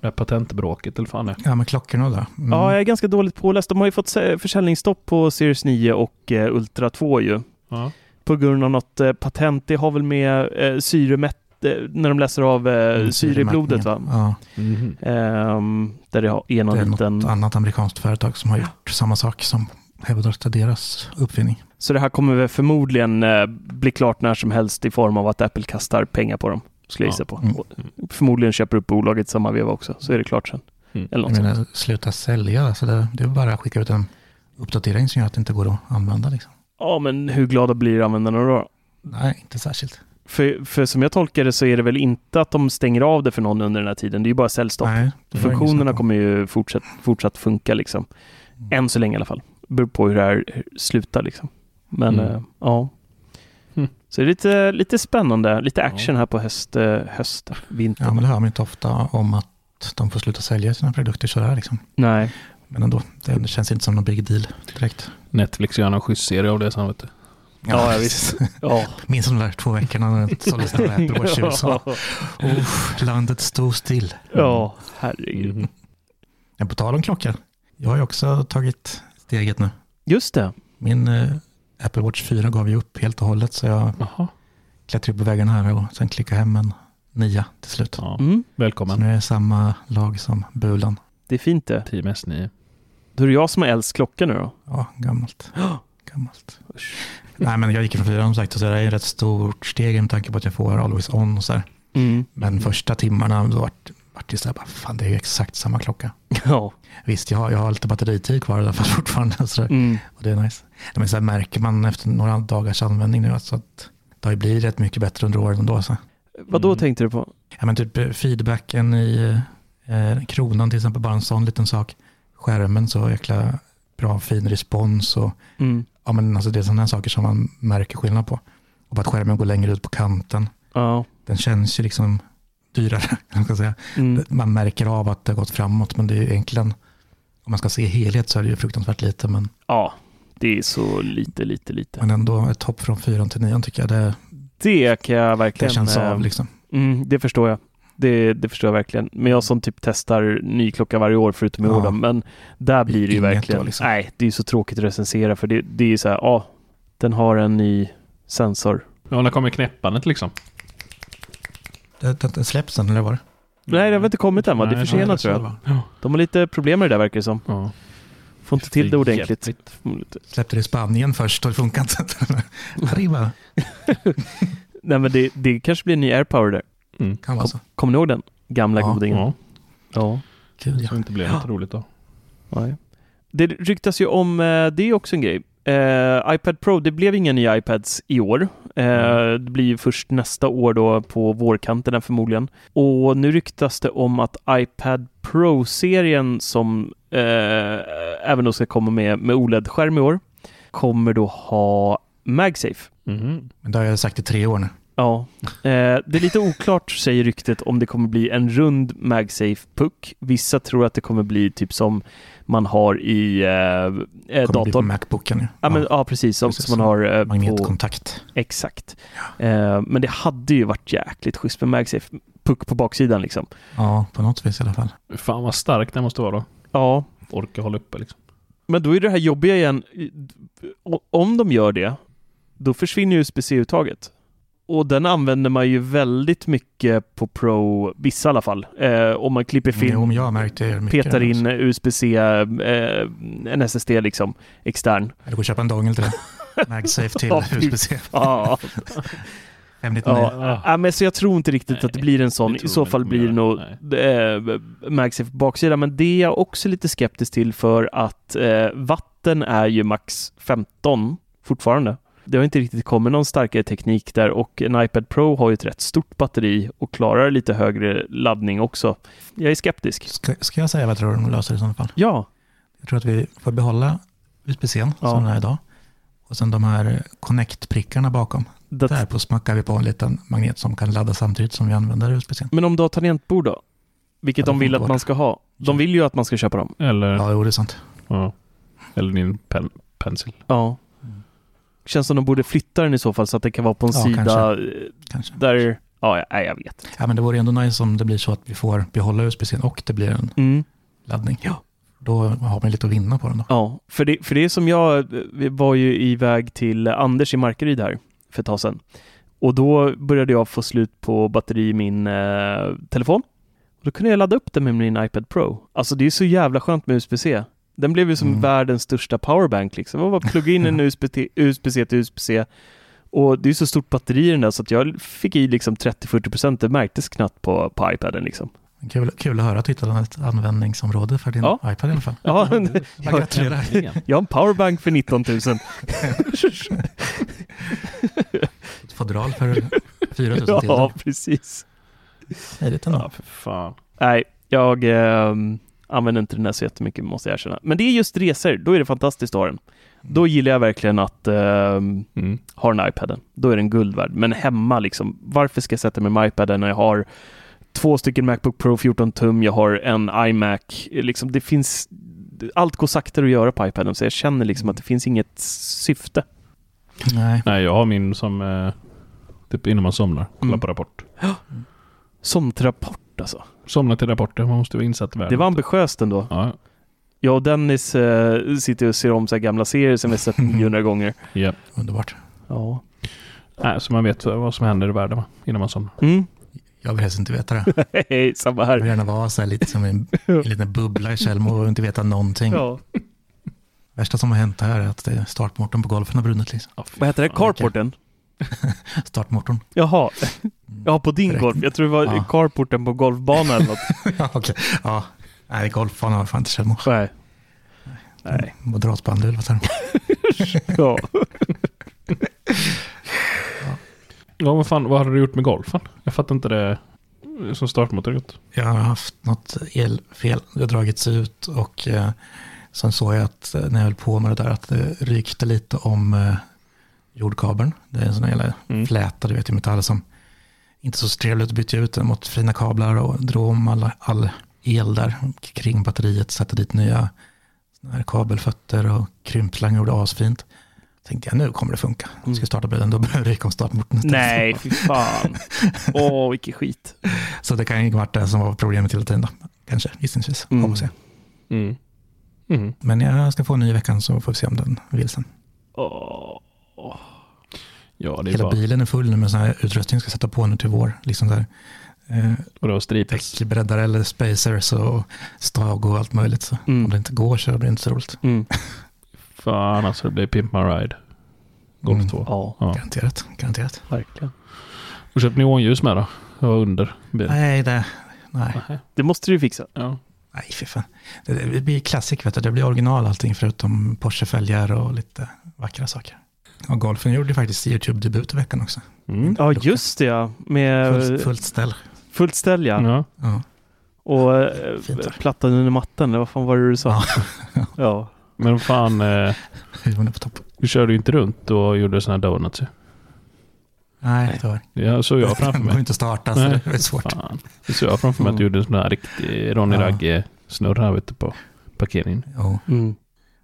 Speaker 3: det här patentbråket eller fan det är?
Speaker 1: Ja, men klockorna där. Mm.
Speaker 2: Ja, jag är ganska dåligt påläst. De har ju fått se- försäljningsstopp på Series 9 och eh, Ultra 2 ju.
Speaker 3: Ja.
Speaker 2: På grund av något eh, patent. Det har väl med eh, syremätt... Eh, när de läser av eh,
Speaker 1: Mm,
Speaker 2: syre i blodet va?
Speaker 1: Ja, Mhm.
Speaker 2: Ehm, där det har- är någon
Speaker 1: det är
Speaker 2: liten...
Speaker 1: något annat amerikanskt företag som har gjort samma sak som hävdar att det är deras uppfinning.
Speaker 2: Så det här kommer väl förmodligen eh, bli klart när som helst i form av att Apple kastar pengar på dem. Skulle jag
Speaker 3: Ja.
Speaker 2: gissa på.
Speaker 1: Mm.
Speaker 2: Och förmodligen köper upp bolaget i samma veva också, så är det klart sen.
Speaker 3: Mm.
Speaker 2: Eller något
Speaker 1: Jag
Speaker 2: sånt.
Speaker 1: menar, sluta sälja, alltså det, det är bara att skicka ut en uppdatering som gör att det inte går att använda. Liksom.
Speaker 2: Ja, men hur glada blir användarna då?
Speaker 1: Nej, inte särskilt.
Speaker 2: För, för som jag tolkar det så är det väl inte att de stänger av det för någon under den här tiden. Det är ju bara säljstopp.
Speaker 1: Nej, det var ingen snack
Speaker 2: Funktionerna
Speaker 1: om.
Speaker 2: kommer ju fortsatt, fortsatt funka liksom.
Speaker 3: Mm.
Speaker 2: Än så länge i alla fall. Beror på hur det här slutar liksom. Men
Speaker 3: Mm.
Speaker 2: eh, ja.
Speaker 3: Mm.
Speaker 2: Så det är lite, lite spännande, lite action
Speaker 3: Ja.
Speaker 2: här på höst, eh, höst vinter.
Speaker 1: Ja, men det hör man inte ofta om att de får sluta sälja sina produkter sådär liksom.
Speaker 2: Nej.
Speaker 1: Men ändå, det känns inte som någon big deal direkt.
Speaker 3: Netflix gör en schysst serie av det sen vet du.
Speaker 2: Ja, ja, visst. Ja.
Speaker 1: Minns de där två veckorna när det såldes några Apple Watch i USA. Uff, landet stod still.
Speaker 2: ja, herregud.
Speaker 1: Mhm.
Speaker 3: Mm.
Speaker 1: Men på tal om klocka, jag har ju också tagit steget nu.
Speaker 2: Just det.
Speaker 1: Min eh, Apple Watch 4 gav ju upp helt och hållet så jag
Speaker 3: Jaha.
Speaker 1: klättrade upp på vägen här och sen klickade hem en nia till slut.
Speaker 3: Ja.
Speaker 2: Mm.
Speaker 1: Så
Speaker 3: Välkommen.
Speaker 1: nu är jag samma lag som Bulan.
Speaker 2: Det är fint det.
Speaker 3: Team S9.
Speaker 2: Då är det jag som har äldst klocka nu då.
Speaker 1: Ja, gammalt. gammalt. Nej, men jag gick från fyran som sagt och så det är ju ett rätt stort steg med tanke på att jag får Always On och så där.
Speaker 2: Mm.
Speaker 1: Men första timmarna då vart vart det så här, bara, fan det är ju exakt samma klocka.
Speaker 2: Ja.
Speaker 1: Visst, jag har, jag har lite batteritid kvar i alla fall fortfarande. Så där.
Speaker 2: Mm.
Speaker 1: Och det är nice. Nej, Men så här märker man efter några dagars användning nu alltså att det har ju blivit rätt mycket bättre under åren ändå. Så.
Speaker 2: Vad då
Speaker 3: Mm.
Speaker 2: tänkte du på?
Speaker 1: Ja, men typ eh, feedbacken i eh, kronan till exempel, bara en sån liten sak. Skärmen så jäkla bra fin respons och
Speaker 2: Mm.
Speaker 1: ja, men alltså det är sådana här saker som man märker skillnad på. Och att skärmen går längre ut på kanten.
Speaker 2: Ja.
Speaker 1: Den känns ju liksom dyrare, eller vad man ska säga.
Speaker 2: Mm.
Speaker 1: Man märker av att det har gått framåt, men det är ju egentligen, om man ska se helhet så är det ju fruktansvärt lite, men,
Speaker 2: Ja, det är så lite, lite, lite.
Speaker 1: men ändå ett hopp från fyran till nian tycker jag det,
Speaker 2: Det kan jag verkligen...
Speaker 1: det känns
Speaker 2: eh,
Speaker 1: av liksom.
Speaker 2: Mm, det förstår jag. Det, det förstår jag verkligen. Men jag som typ testar ny klocka varje år förutom i
Speaker 1: Ja.
Speaker 2: år, då, men där blir det ju
Speaker 1: Inget
Speaker 2: verkligen...
Speaker 1: då, liksom.
Speaker 2: Nej, det är ju så tråkigt att recensera för det, det är ju så här, ja, den har en ny sensor.
Speaker 3: Ja, när kommer knäppandet liksom?
Speaker 1: Det, det, det släpps den, eller vad var det?
Speaker 2: Nej, det har väl inte kommit än va? Det är
Speaker 3: Mm. Nej,
Speaker 1: Ja,
Speaker 2: försenat
Speaker 1: så
Speaker 2: tror
Speaker 1: det
Speaker 2: jag.
Speaker 1: var.
Speaker 2: De har lite problem med det där verkar det som.
Speaker 3: Ja.
Speaker 2: Får inte till det ordentligt.
Speaker 1: Släppte det i Spanien först och det funkar inte. Arriba,
Speaker 2: Nej, men det, det kanske blir en ny AirPower där.
Speaker 3: Mm.
Speaker 1: kan vara så.
Speaker 2: Kommer ni ihåg den? Gamla
Speaker 1: Ja.
Speaker 2: godingen.
Speaker 3: Ja,
Speaker 2: Ja.
Speaker 1: Gud,
Speaker 3: så det
Speaker 1: ja.
Speaker 3: inte blev något roligt då.
Speaker 2: Nej. Det ryktas ju om, eh, det är också en grej. Eh, iPad Pro, det blev inga nya iPads i år. Eh, Det blir ju först nästa år då på vårkanten här förmodligen. Och nu ryktas det om att iPad Pro-serien som eh, även då ska komma med, med OLED-skärm i år kommer då ha MagSafe.
Speaker 3: Mhm.
Speaker 1: Men det har jag sagt i tre år nu.
Speaker 2: Ja, eh, det är lite oklart säger ryktet om det kommer bli en rund MagSafe-puck. Vissa tror att det kommer bli typ som man har i eh, eh,
Speaker 1: Kommer bli på
Speaker 2: datorn.
Speaker 1: Macbooken nu.
Speaker 2: Ja, men,
Speaker 1: Ja,
Speaker 2: ja, precis. Som,
Speaker 1: precis.
Speaker 2: som man har eh, på...
Speaker 1: magnetkontakt.
Speaker 2: Exakt. Eh, men det hade ju varit jäkligt schysst med MagSafe. Puck på baksidan liksom.
Speaker 1: Ja, på något vis i alla fall.
Speaker 3: Fan vad stark den måste vara då.
Speaker 2: Ja,
Speaker 3: Orka hålla uppe liksom.
Speaker 2: men då är det här jobbiga igen. O- Om de gör det, då försvinner ju USB-C-uttaget. Och den använder man ju väldigt mycket på Pro, vissa i alla fall. Eh, om man klipper film.
Speaker 1: Jo, men jag har märkt det mycket.
Speaker 2: petar in USB-C, eh, en SSD liksom, extern.
Speaker 1: Det går att köpa en dongel till det. MagSafe till
Speaker 2: Ja, fy
Speaker 1: USB-C.
Speaker 2: Ja,
Speaker 1: 599.
Speaker 2: ja.
Speaker 3: Ah.
Speaker 2: ja, men så jag tror inte riktigt att det
Speaker 3: Nej,
Speaker 2: blir en sån.
Speaker 3: det tror
Speaker 2: I så
Speaker 3: jag
Speaker 2: fall
Speaker 3: inte kommer
Speaker 2: blir det nog
Speaker 3: göra.
Speaker 2: eh, MagSafe på baksidan, men det är jag också lite skeptisk till för att eh, vatten är ju max 15 fortfarande. Det har inte riktigt kommit någon starkare teknik där och en iPad Pro har ju ett rätt stort batteri och klarar lite högre laddning också. Jag är skeptisk.
Speaker 1: Ska, ska jag säga vad jag tror de löser i så fall?
Speaker 2: Ja,
Speaker 1: Jag tror att vi får behålla USB-C
Speaker 2: Ja.
Speaker 1: som den är idag. Och sen de här connect-prickarna bakom.
Speaker 2: det,
Speaker 1: Där på smackar vi på en liten magnet som kan ladda samtidigt som vi använder USB-C.
Speaker 2: Men om du har tangentbord då? Vilket
Speaker 1: Ja,
Speaker 2: de
Speaker 1: det
Speaker 2: vill
Speaker 1: får
Speaker 2: att
Speaker 1: vara.
Speaker 2: man ska ha. De vill ju att man ska köpa dem.
Speaker 3: Eller, ja.
Speaker 1: Ja, jo, det är sant.
Speaker 3: Eller din pen, pensel.
Speaker 2: Ja. Känns som de borde flytta den i så fall så att det kan vara på en
Speaker 1: Ja,
Speaker 2: sida
Speaker 1: kanske.
Speaker 2: eh,
Speaker 1: Kanske.
Speaker 2: där... Ja, jag- nej, jag vet.
Speaker 1: Ja, men det vore ändå nice om det blir så att vi får behålla USB-C och det blir en
Speaker 2: Mm.
Speaker 1: laddning. Ja. Då har man lite att vinna på den då.
Speaker 2: Ja, för det, för det är som jag, vi var ju iväg till Anders i Markaryd här för ett tag sedan. Och då började jag få slut på batteri i min eh, telefon. Och då kunde jag ladda upp den med min iPad Pro. Alltså det är så jävla skönt med USB-C. Den blev ju som
Speaker 1: Mm.
Speaker 2: världens största powerbank liksom. Det var bara att plugga in en USB-C USB till USB-C. Och det är så stort batteri i den där så att jag fick i liksom 30-40% det märktes knappt på, på iPaden liksom.
Speaker 1: Kul, kul att höra att du hittade ett användningsområde för din
Speaker 2: Ja.
Speaker 1: iPad i alla fall.
Speaker 2: Ja,
Speaker 1: Jag gratulerar.
Speaker 2: jag har en powerbank för 19 000.
Speaker 1: Ett fodral för 4 000 till.
Speaker 2: Ja, precis.
Speaker 1: Smidigt ändå.
Speaker 2: Ja, för fan. Nej, jag ehm, använder inte den här så jättemycket, måste jag erkänna. Men det är just resor, då är det fantastiskt att ha den. Då gillar jag verkligen att ehm,
Speaker 3: Mm.
Speaker 2: ha den iPaden. Då är den guld värd. Men hemma, liksom, varför ska jag sätta mig med iPaden när jag har två stycken Macbook Pro 14 tum, jag har en iMac. Liksom, det finns, allt går saktare att göra på iPaden, så jag känner liksom att det finns inget syfte.
Speaker 1: Nej,
Speaker 3: Nej, jag har min som... Eh, typ innan man somnar. Kolla
Speaker 2: Mm.
Speaker 3: på Rapport.
Speaker 2: Somtrapport alltså.
Speaker 3: Somna till Rapporten, man måste vara insatt i världen.
Speaker 2: Det var ambitiöst ändå.
Speaker 3: Ja,
Speaker 2: Jag och Dennis eh, sitter och ser om så här gamla serier som vi sett 900 gånger.
Speaker 3: ja.
Speaker 1: underbart.
Speaker 2: Ja.
Speaker 3: Nej, så man vet vad som händer i världen va? innan man somnar.
Speaker 2: Mm.
Speaker 1: Jag vill helst inte veta det. Jag
Speaker 2: Hej, samma
Speaker 1: vill
Speaker 2: här.
Speaker 1: gärna vara så här lite som en, en liten bubbla i Tjällmo och inte veta någonting.
Speaker 2: Ja.
Speaker 1: Värsta som har hänt här är att eh, startmotorn på golfen har brunnit. Liksom.
Speaker 2: Vad heter det? Carporten? Mm.
Speaker 1: Startmotorn.
Speaker 2: Jaha. Ja, på din
Speaker 1: Direkt.
Speaker 2: golf. Jag tror det var
Speaker 1: Ja.
Speaker 2: carporten på golfbanan eller något.
Speaker 1: ja, okej. Ja. Nej, golfbanan har fan inte Tjällmo.
Speaker 2: Nej. Nej.
Speaker 1: Moderatband, eller vad säger de?
Speaker 2: Ja.
Speaker 3: Ja, men fan, vad hade du gjort med golfen? Jag fattar inte det som startmotor gjort.
Speaker 1: Jag har haft något elfel. Det har dragits ut och eh, sen såg jag att eh, när jag höll på med det där att det rykte lite om eh, jordkabeln. Det är en sån här jävla
Speaker 3: Mm.
Speaker 1: fläta, du vet, i metall som inte så trevligt att byta ut den mot fina kablar och drog om alla, all el där kring batteriet, satte dit nya såna här kabelfötter och krympslang gjorde asfint. Tänkte jag nu kommer det funka. Ska jag starta bilen då börjar jag ryka om startmotorn. istället.
Speaker 2: Nej, fy fan. Åh, vilken skit.
Speaker 1: Så det kan ju vara det som var problemet hela tiden då. Kanske, gissningsvis.
Speaker 2: Mm.
Speaker 1: Hoppas jag.
Speaker 3: Mm. Mm.
Speaker 1: Men jag ska få en ny i veckan så får vi se om den vill sen.
Speaker 2: Åh.
Speaker 3: Ja, det är
Speaker 1: Hela
Speaker 3: bara...
Speaker 1: bilen är full nu med sån här utrustning jag ska sätta på nu till vår. Liksom där, eh,
Speaker 3: Vadå, stripas?
Speaker 1: däckbreddare eller spacers och stag och allt möjligt. Så
Speaker 2: Mm.
Speaker 1: om det inte går så blir det inte så roligt.
Speaker 2: Mm.
Speaker 3: Fan alltså, det blir Pimp My Ride. Golf
Speaker 1: Mm.
Speaker 3: 2.
Speaker 2: Ja,
Speaker 3: Ja.
Speaker 1: Garanterat, garanterat.
Speaker 2: verkligen.
Speaker 3: Och köpt neonljus med då? Ja, under bilen.
Speaker 1: Nej, det, nej,
Speaker 3: Nej.
Speaker 2: Det måste du ju fixa.
Speaker 3: Ja.
Speaker 1: nej, fy fan. Det, det blir klassik, vet du. Det blir original allting förutom Porsche-fälgar och lite vackra saker. Och golfen gjorde ju faktiskt YouTube-debut i veckan också.
Speaker 3: Mm.
Speaker 2: Ja, just det ja. Med
Speaker 1: Fullt, fullt ställ.
Speaker 2: fullt ställ ja.
Speaker 3: Ja.
Speaker 1: Ja.
Speaker 2: Och eh,
Speaker 1: Fint där.
Speaker 2: plattan under mattan, eller vad fan var det du sa? Ja.
Speaker 3: Men fan, eh,
Speaker 1: Huvudet på topp.
Speaker 3: du körde ju inte runt och gjorde såna här donuts ju.
Speaker 1: Nej, det var
Speaker 3: Ja, såg jag framför
Speaker 1: Den går ju
Speaker 3: mig.
Speaker 1: inte att starta, så
Speaker 3: Nej.
Speaker 1: det är svårt.
Speaker 3: Fan. Det såg jag framför mig att du gjorde en sån här riktig Ronny
Speaker 1: Ja.
Speaker 3: Ragge-snurra ute på parkeringen.
Speaker 1: Jo,
Speaker 2: Mm.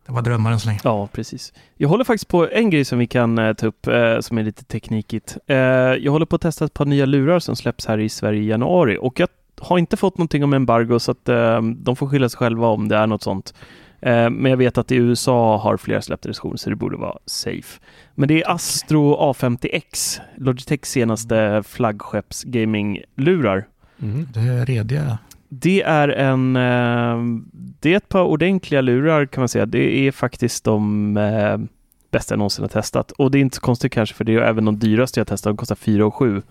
Speaker 1: det var drömmaren så länge.
Speaker 2: Ja, precis. Jag håller faktiskt på en grej som vi kan eh, ta upp eh, som är lite teknikigt. Eh, jag håller på att testa ett par nya lurar som släpps här i Sverige i januari och jag har inte fått någonting om embargo så att eh, de får skylla sig själva om det är något sånt. Eh, men jag vet att i USA har flera släppt restriktioner så det borde vara safe. Men det är Astro A50X, Logitechs senaste flaggskepps gaming-lurar.
Speaker 3: Mm.
Speaker 1: Det är rediga.
Speaker 2: Det är en... eh, Det är ett par ordentliga lurar kan man säga. Det är faktiskt de eh, bästa jag någonsin har testat. Och det är inte så konstigt kanske för det är även de dyraste jag testat. De kostar 4 7 eh,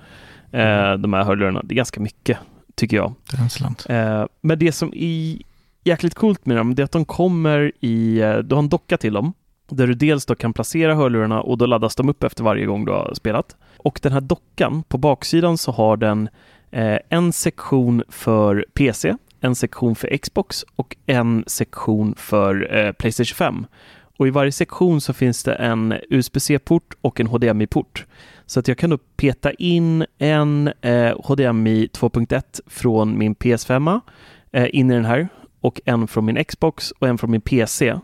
Speaker 2: De här hörlurarna. Det är ganska mycket tycker jag.
Speaker 1: Det är en slant.
Speaker 2: Eh, Men det som är jäkligt coolt med dem, det är att de kommer i... eh, Du har en docka till dem, där du dels då kan placera hörlurarna och då laddas de upp efter varje gång du har spelat. Och den här dockan, på baksidan så har den eh, en sektion för PC, en sektion för Xbox och en sektion för eh, Playstation 5. Och i varje sektion så finns det en USB-C-port och en HDMI-port. Så att jag kan då peta in en eh, HDMI 2.1 från min PS5 eh, in i den här och en från min Xbox och en från min PC.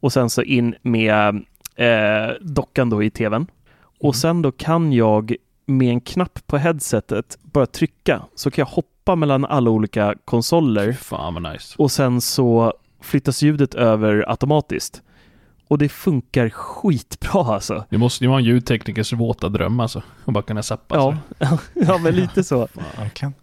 Speaker 2: Och sen så in med eh, dockan då i tvn. Och sen då kan jag med en knapp på headsetet bara trycka så kan jag hoppa mellan alla olika konsoler
Speaker 3: Fan vad nice.
Speaker 2: och sen så flyttas ljudet över automatiskt. Och det funkar skitbra alltså.
Speaker 3: Det måste ju vara en ljudteknikers våta dröm alltså. Och bara kunna zappa.
Speaker 2: Ja,
Speaker 3: sådär.
Speaker 2: ja, men lite så.
Speaker 1: Verkligen.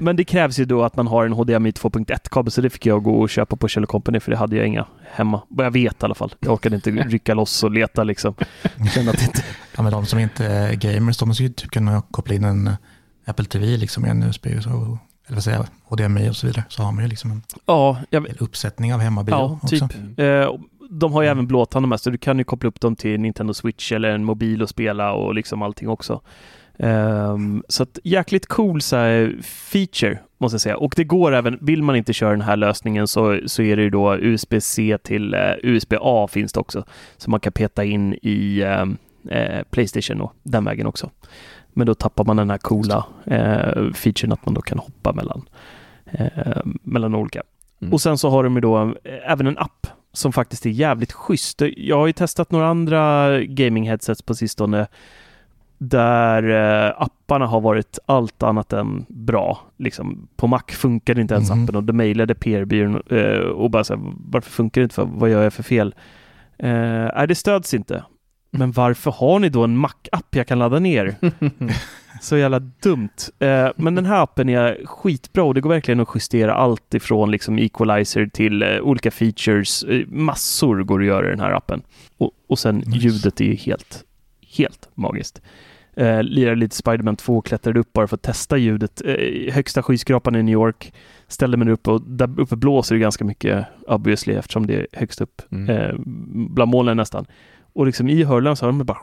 Speaker 2: Men det krävs ju då att man har en HDMI 2.1-kabel, så det fick jag gå och köpa på Kjell Company, för det hade jag inga hemma. Vad jag vet i alla fall. Jag orkade inte rycka loss och leta liksom. Kände att det inte...
Speaker 1: Ja, men de som inte är gamers, de måste ju typ kunna koppla in en Apple TV liksom i en USB och så. eller vad säger jag, HDMI och så vidare, så har man ju liksom en
Speaker 2: Ja, jag, vet-
Speaker 1: hel uppsättning av hemmabio
Speaker 2: ja
Speaker 1: också.
Speaker 2: typ. Eh, de har ju även Blåtand de här, så du kan ju koppla upp dem till Nintendo Switch eller en mobil och spela och liksom allting också. Ehm, så att jäkligt cool så här, feature, måste jag säga. Och det går även, vill man inte köra den här lösningen så, så är det ju då USB-C till eh, USB-A finns det också. Så man kan peta in i ehm, eh, Playstation och den vägen också. Men då tappar man den här coola eh, featuren att man då kan hoppa mellan, eh, mellan olika.
Speaker 3: Mm.
Speaker 2: Och sen så har de ju då eh, även en app som faktiskt är jävligt schysst. Jag har ju testat några andra gaming headsets på sistone där eh, apparna har varit allt annat än bra. Liksom, på Mac funkade inte ens
Speaker 1: Mhm.
Speaker 2: appen och då mejlade PR-byrån eh, och bara så här, varför funkar det inte? För, vad gör jag för fel? Eh, nej, det stöds inte. Men varför har ni då en Mac-app jag kan ladda ner? Så jävla dumt. Eh, men den här appen är skitbra och det går verkligen att justera allt ifrån liksom equalizer till eh, olika features. Eh, massor går att göra i den här appen. Och, och sen
Speaker 1: Nice.
Speaker 2: ljudet är ju helt, helt magiskt. Eh, lirade lite Spiderman 2 och klättrade upp bara för att testa ljudet. Eh, i högsta skyskrapan i New York. Ställde mig upp och där uppe blåser det ganska mycket obviously eftersom det är högst upp
Speaker 3: Mm.
Speaker 2: eh, bland molnen nästan. Och liksom i hörlurarna så hör man bara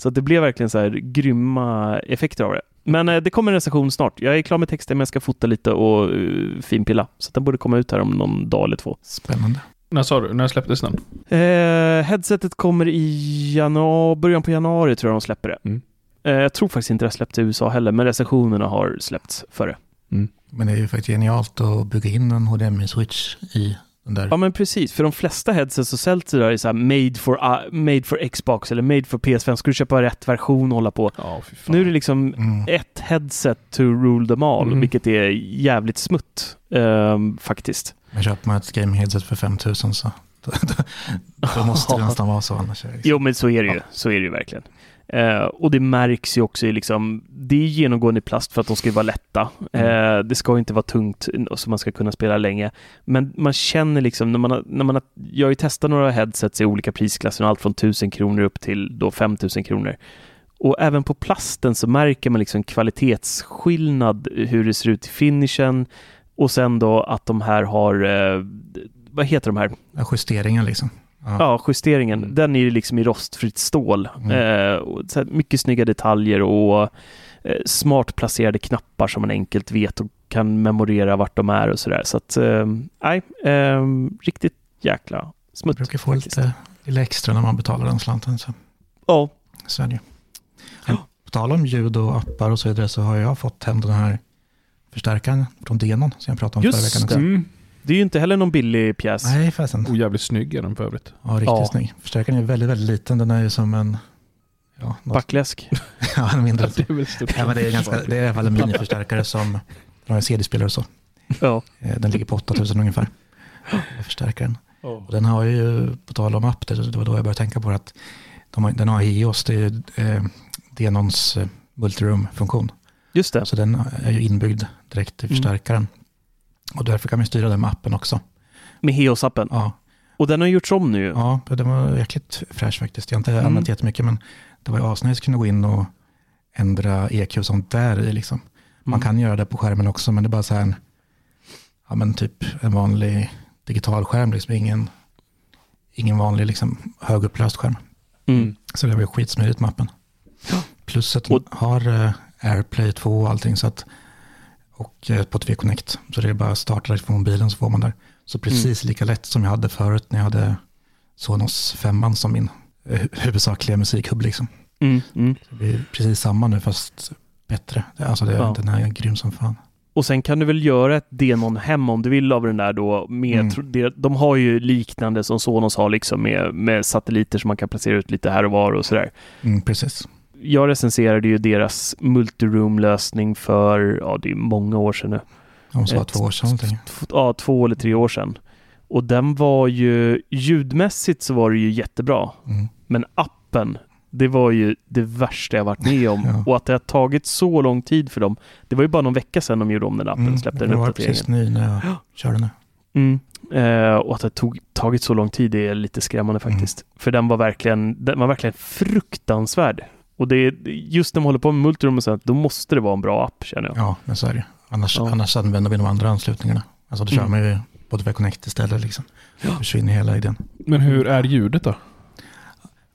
Speaker 2: så att det blev verkligen så här grymma effekter av det. Men eh, det kommer en recension snart. Jag är klar med texten men jag ska fota lite och eh, finpilla. Så att den borde komma ut här om någon dag eller två.
Speaker 1: Spännande.
Speaker 3: När sa du? När släpptes den?
Speaker 2: Eh, headsetet kommer i januari, början på januari tror jag de släpper det.
Speaker 3: Mm.
Speaker 2: Eh, jag tror faktiskt inte det släppts i USA heller, men recensionerna har släppts före.
Speaker 1: Men det är ju faktiskt genialt att bygga in en HDMI-switch i den där.
Speaker 2: Ja men precis, för de flesta headsets och säljs det där är så här made for, uh, made for Xbox eller made for PS5. Ska du köpa rätt version och hålla på?
Speaker 3: Ja, fy fan.
Speaker 2: Nu är det liksom
Speaker 1: Mm.
Speaker 2: ett headset to rule them all,
Speaker 3: Mm.
Speaker 2: vilket är jävligt smutt ehm, faktiskt.
Speaker 1: Men köper man ett gaming-headset för 5 000 så då, då, då måste det nästan vara så annars. Är det liksom.
Speaker 2: Jo, men så är det ju.
Speaker 1: Ja.
Speaker 2: Så är det ju verkligen. Eh, och det märks ju också i liksom, det är genomgående i plast för att de ska ju vara lätta. Eh, det ska ju inte vara tungt så man ska kunna spela länge. Men man känner liksom, när man har, när man har, jag har ju testat några headsets i olika prisklasser, allt från 1000 kronor upp till då 5000 kronor. Och även på plasten så märker man liksom kvalitetsskillnad, hur det ser ut i finishen och sen då att de här har, eh, vad heter de här?
Speaker 1: Ja, Justeringen liksom.
Speaker 2: Ja, justeringen.
Speaker 3: Mm.
Speaker 2: Den är ju liksom i rostfritt stål.
Speaker 1: Mm.
Speaker 2: Eh, och så här, mycket snygga detaljer och eh, smart placerade knappar som man enkelt vet och kan memorera vart de är och sådär. Så att, eh, nej, eh, riktigt jäkla
Speaker 1: Man
Speaker 2: smutt.
Speaker 1: brukar få
Speaker 2: faktiskt.
Speaker 1: lite, lite extra när man betalar den slanten. Så.
Speaker 2: Ja,
Speaker 1: Så är det ju.
Speaker 2: Ja.
Speaker 1: På tal om ljud och appar och så vidare så har jag fått hem den här förstärkaren från Denon som jag pratade om förra veckan
Speaker 2: just det.
Speaker 1: också.
Speaker 3: Mm.
Speaker 2: Det är ju inte heller någon billig pjäs.
Speaker 1: Nej, fasen.
Speaker 3: Oh, jävligt snygg är den för övrigt.
Speaker 1: Ja, riktigt
Speaker 2: Ja.
Speaker 1: snygg. Förstärkaren är väldigt, väldigt liten. Den är ju som en... Ja, något,
Speaker 2: Backläsk.
Speaker 1: ja en mindre.
Speaker 3: är väl stort.
Speaker 1: Ja, men det, är ganska, det är i alla fall en miniförstärkare som den har en CD-spelare och så.
Speaker 2: ja.
Speaker 1: Eh, Den ligger på 8000 ungefär. Förstärkaren. Och den har ju, på tal om app, det det var då jag började tänka på det, att de har, den har EOS, det är ju eh, Denons eh, multiroom-funktion.
Speaker 2: Just det.
Speaker 1: Så den är ju inbyggd direkt i
Speaker 2: Mm.
Speaker 1: förstärkaren. Och därför kan man styra den med appen också.
Speaker 2: Med Heos-appen.
Speaker 1: Ja,
Speaker 2: Och den har gjorts om nu. ju.
Speaker 1: ja den var jäkligt fräsch faktiskt. Jag har inte
Speaker 2: Mm.
Speaker 1: använt jättemycket, men det var ju asnice att kunna gå in och ändra EQ och sånt där i liksom. Man
Speaker 2: Mm.
Speaker 1: kan göra det på skärmen också, men det är bara så här en, ja men typ en vanlig digital skärm, liksom ingen, ingen vanlig liksom högupplöst skärm.
Speaker 2: Mm.
Speaker 1: Så det var ju skitsmidigt med appen. Plus att den
Speaker 2: Och-
Speaker 1: har eh, AirPlay 2 och allting så att, och eh, på 3 Connect. Så det är bara att starta direkt från mobilen så får man där. Så precis
Speaker 2: Mm.
Speaker 1: lika lätt som jag hade förut när jag hade Sonos 5 som min eh, hu- huvudsakliga musikhubb. Liksom.
Speaker 2: Mm. Mm.
Speaker 1: Det är precis samma nu fast bättre. Det- Alltså det,
Speaker 2: Ja.
Speaker 1: den här är grym som fan.
Speaker 2: Och sen kan du väl göra ett Denon hem om du vill av den där då. Med,
Speaker 1: Mm.
Speaker 2: tro- det, de har ju liknande som Sonos har liksom med, med satelliter som man kan placera ut lite här och var och sådär.
Speaker 1: Mm, precis.
Speaker 2: Jag recenserade ju deras multiroom-lösning för, ja det är många år sedan nu.
Speaker 1: Om så var
Speaker 2: Ett-
Speaker 1: två år sedan någonting.
Speaker 2: T- ja, två eller tre år sedan. Och den var ju, ljudmässigt så var det ju jättebra.
Speaker 1: Mm.
Speaker 2: Men appen, det var ju det värsta jag varit med om.
Speaker 1: Ja.
Speaker 2: Och att det har tagit så lång tid för dem. Det var ju bara någon vecka sedan de gjorde om den appen
Speaker 1: Mm,
Speaker 2: och släppte
Speaker 1: det
Speaker 2: den
Speaker 1: var
Speaker 2: uppdateringen.
Speaker 1: precis ny när jag körde nu.
Speaker 2: Mm. Eh, och att det tog, tagit Mm. så lång tid det är lite skrämmande faktiskt. För den var verkligen, den var verkligen fruktansvärd. Och det är just när man håller på med multiroom och sånt, då måste det vara en bra app känner jag.
Speaker 1: Ja, men så är det ju. Annars,
Speaker 2: Ja.
Speaker 1: annars använder vi de andra anslutningarna. Alltså då kör
Speaker 2: Mm.
Speaker 1: man ju Spotify Connect istället liksom. Då försvinner hela idén.
Speaker 3: Men hur är ljudet då?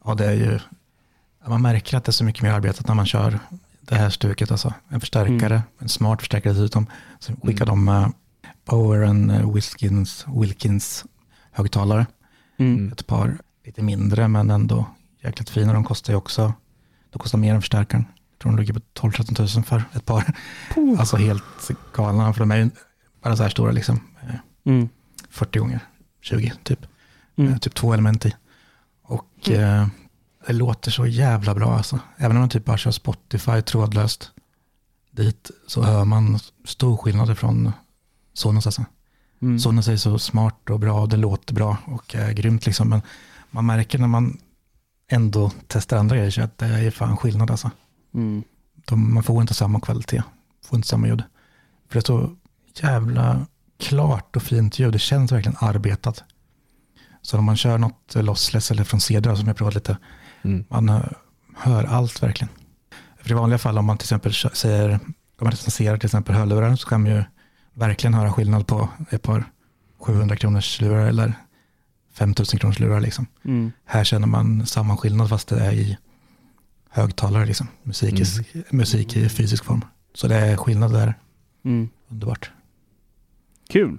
Speaker 1: Ja, det är ju... Man märker att det är så mycket mer arbetat när man kör det här stuket. Alltså. En förstärkare,
Speaker 2: Mm.
Speaker 1: en smart förstärkare dessutom. Så skickar de eh, Power and eh, Wilkins, Wilkins högtalare.
Speaker 2: Mm.
Speaker 1: Ett par lite mindre men ändå jäkligt fina. De kostar ju också... De kostar mer än förstärkaren. Jag tror de ligger på 12-13 000 för ett par. Alltså helt galna. För de är ju bara så här stora liksom. Eh,
Speaker 2: Mm.
Speaker 1: 40 gånger 20 typ.
Speaker 2: Mm.
Speaker 1: Eh, Typ två element i. Och eh, det låter så jävla bra alltså. Även om man typ bara kör Spotify trådlöst dit så hör man stor skillnad från Sonos alltså.
Speaker 2: Mm.
Speaker 1: Sonos är så smart och bra och det låter bra och är grymt liksom. Men man märker när man ändå testar andra grejer så att det är fan skillnad alltså.
Speaker 2: Mm.
Speaker 1: De, man får inte samma kvalitet, får inte samma ljud. För det är så jävla klart och fint ljud, det känns verkligen arbetat. Så om man kör något lossless eller från CD som jag provat lite,
Speaker 3: Mm.
Speaker 1: man eh, hör allt verkligen. För i vanliga fall om man till exempel kö- säger, om man recenserar till exempel hörlurar så kan man ju verkligen höra skillnad på ett par 700 kronors lurar eller 5000 kronors lurar liksom.
Speaker 2: Mm.
Speaker 1: Här känner man samma skillnad fast det är i högtalare liksom. Musik, i- musik i fysisk form. Så det är skillnad där.
Speaker 2: Mm.
Speaker 1: Underbart.
Speaker 2: Kul.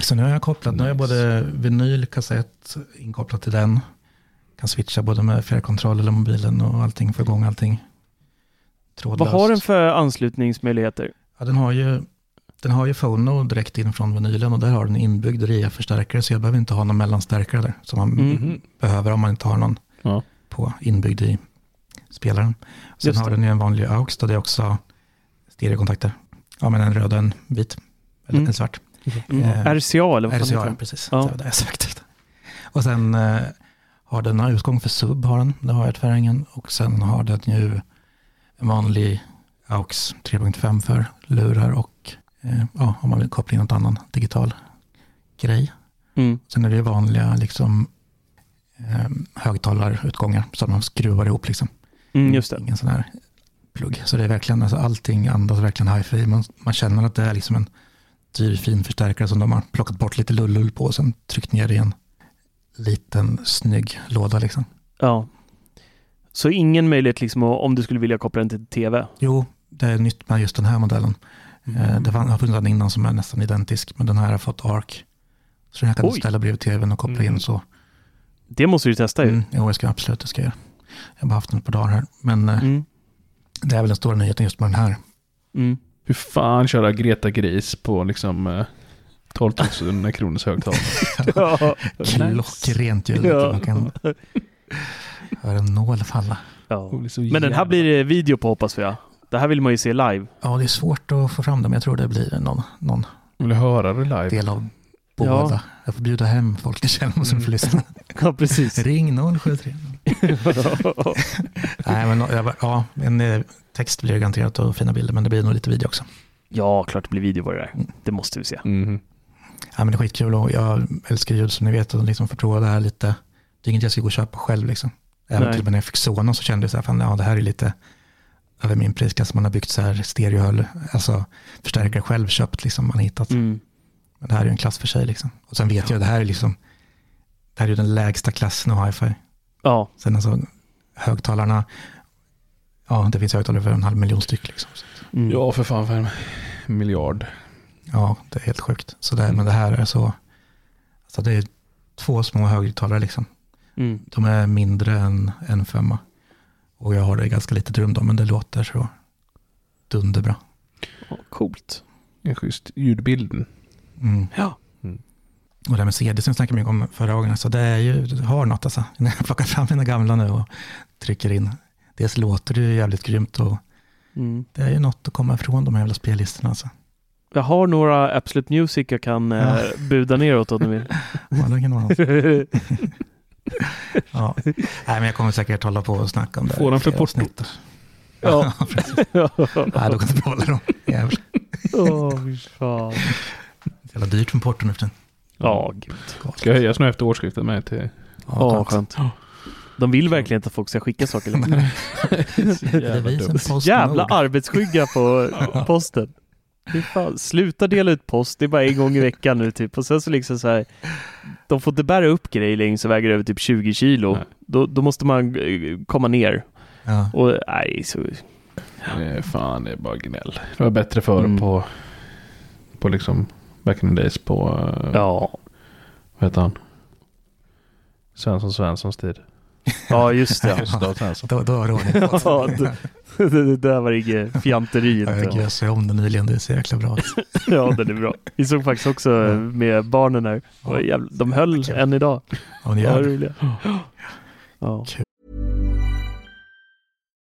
Speaker 1: Så nu har jag kopplat, nu har jag
Speaker 3: Nice.
Speaker 1: både vinyl, kassett inkopplat till den. Kan switcha både med fjärrkontroll eller mobilen och allting, få igång allting.
Speaker 2: Vad
Speaker 1: Trådlöst.
Speaker 2: har den för anslutningsmöjligheter?
Speaker 1: Ja, den har ju, den har ju Phono direkt in från vinylen och där har den inbyggd RIA-förstärkare så jag behöver inte ha någon mellanstärkare där som man
Speaker 2: Mm.
Speaker 3: Mhm.
Speaker 1: behöver om man inte har någon
Speaker 3: Ja.
Speaker 1: på inbyggd i spelaren. Sen
Speaker 2: Just
Speaker 1: har
Speaker 2: det.
Speaker 1: den ju en vanlig AUX då det är också stereokontakter. Ja, men en röd och en vit. Eller
Speaker 2: Mm.
Speaker 1: en svart.
Speaker 2: Mm.
Speaker 1: Eh,
Speaker 2: RCA eller vad fan heter
Speaker 1: RCA,
Speaker 2: den?
Speaker 1: precis.
Speaker 2: Ja.
Speaker 1: Det var det jag sökte. efter. Och sen eh, har den en utgång för sub, har den. Det har jag tyvärr ingen. Och sen har den ju en vanlig AUX 3.5 för lurar och eh, ja, om man vill koppla in något annan digital grej.
Speaker 2: Mm.
Speaker 1: Sen är det ju vanliga liksom, eh, högtalarutgångar som man skruvar ihop. Liksom.
Speaker 2: Mm, just det.
Speaker 1: Ingen sån här plugg. Så det är verkligen, alltså, allting andas verkligen hifi. Man, man känner att det är liksom en dyr fin förstärkare som de har plockat bort lite lullull på och sen tryckt ner i en liten snygg låda. Liksom.
Speaker 2: Ja. Så ingen möjlighet liksom att- om du skulle vilja koppla den till TV?
Speaker 1: Jo, det är nytt med just den här modellen.
Speaker 2: Mm.
Speaker 1: Eh, det fann- har funnits en innan som är nästan identisk, men den här har fått ARC. Så den här kan
Speaker 2: Oj.
Speaker 1: du ställa bredvid tvn och koppla in
Speaker 3: Mm.
Speaker 1: så.
Speaker 2: Det måste du testa ju.
Speaker 1: Mm, jo, jag ska absolut, det ska jag göra. Jag har bara haft den ett par dagar här. Men eh,
Speaker 2: Mm.
Speaker 1: det är väl den stora nyheten just med den här.
Speaker 2: Mm.
Speaker 3: Hur fan köra Greta Gris på liksom eh, 12 000 kronors högtalare?
Speaker 2: Ja.
Speaker 1: Klockrent ljud.
Speaker 2: Ja.
Speaker 1: Man kan höra en nål falla.
Speaker 2: Ja.
Speaker 3: Det blir så
Speaker 2: Men den här
Speaker 3: jävla-
Speaker 2: blir det video på hoppas jag. Det här vill man ju se live.
Speaker 1: Ja, det är svårt att få fram det, men jag tror det blir någon, någon
Speaker 3: Jag vill höra det live.
Speaker 1: del av
Speaker 2: Ja. Mm.
Speaker 1: båda. Jag får bjuda hem folk till Tjällmo som får lyssna.
Speaker 2: Ja, precis.
Speaker 1: Ring 073. Nej, men, jag bara- ja, men eh, text blir det garanterat och fina bilder, men det blir nog lite video också.
Speaker 2: ja, klart det blir video på det där. Det måste vi se.
Speaker 3: Mhm.
Speaker 1: Ja, men det är skitkul och jag älskar ljud som ni vet och liksom får prova det här lite. Det är inget jag ska gå och köpa själv liksom. Även
Speaker 2: Nej.
Speaker 1: till och med när jag fick Sonos så kände jag så här, fan, ja, det här är lite över min prisklass. Man har byggt så här stereohöll, alltså förstärkare själv köpt liksom, man har hittat.
Speaker 2: Mm.
Speaker 1: Men det här är ju en klass för sig liksom. Och sen vet jag, det här är liksom, det här är ju den lägsta klassen av hi-fi.
Speaker 2: Ja,
Speaker 1: Sen alltså högtalarna, ja det finns högtalare för en halv miljon styck liksom. Så,
Speaker 2: mm.
Speaker 3: Ja, för fan för en miljard.
Speaker 1: ja, det är helt sjukt. Så
Speaker 2: Mm.
Speaker 1: det, men det här är så, alltså det är två små högtalare liksom.
Speaker 2: Mm.
Speaker 1: De är mindre än en femma. Och jag har det i ganska litet rum då, men det låter så dunderbra.
Speaker 2: Ja, coolt.
Speaker 3: En schysst ljudbild.
Speaker 1: Mm.
Speaker 2: Ja.
Speaker 1: Och det här med CD som jag snackade mycket om förra gången, så det är ju, det har något alltså. När jag plockar fram mina gamla nu och trycker in. Dels låter det ju jävligt grymt och
Speaker 2: Mm.
Speaker 1: det är ju något att komma ifrån de här jävla spellistorna alltså.
Speaker 2: Jag har några Absolute Music jag kan eh,
Speaker 1: Ja.
Speaker 2: buda neråt om du vill.
Speaker 1: Ja, det kan vara något. ja. Nej, men jag kommer säkert hålla på och snacka om det.
Speaker 3: Får den för porto?
Speaker 1: portot?
Speaker 2: Ja.
Speaker 1: Ja, precis. Nej, då kan jag inte behålla dem. Jävlar.
Speaker 2: Åh, fy fan.
Speaker 1: Det är jävla dyrt med porto nu för tiden.
Speaker 2: Ja, gud.
Speaker 3: Ska höjas nu efter årsskiftet med till...
Speaker 1: Ja,
Speaker 2: Ja,
Speaker 1: skönt.
Speaker 2: skönt. De vill verkligen inte att folk ska skicka saker Liksom. längre.
Speaker 1: Devisen post
Speaker 2: Jävla
Speaker 1: nog.
Speaker 2: arbetsskygga på posten. Fy fan, sluta dela ut post, det är bara en gång i veckan nu typ. Och sen så liksom så här, de får inte bära upp grejer längre som väger över typ 20 kilo.
Speaker 3: Nej.
Speaker 2: Då, då måste man eh, komma ner.
Speaker 1: Ja.
Speaker 2: Och nej, så,
Speaker 3: Eh, Fan, det är bara gnäll. Det var bättre förr
Speaker 2: Mm.
Speaker 3: på, på liksom back in the days på, eh,
Speaker 2: ja.
Speaker 3: vad heter han? Svensson Svenssons tid.
Speaker 2: ja, just det. alltså.
Speaker 3: Gustav Svensson.
Speaker 1: Då, då har Ronny fått.
Speaker 2: Ja, det, det, det där var inget fjanteri.
Speaker 1: Ja, Jag
Speaker 2: Inte.
Speaker 1: gös ju om den nyligen, det är så jäkla bra.
Speaker 2: Ja, den är bra. Vi såg faktiskt också med barnen här. Det var jävla- De höll
Speaker 1: Kul.
Speaker 2: än idag.
Speaker 1: Om ni
Speaker 2: Ja,
Speaker 1: gör det.
Speaker 2: roliga. Ja.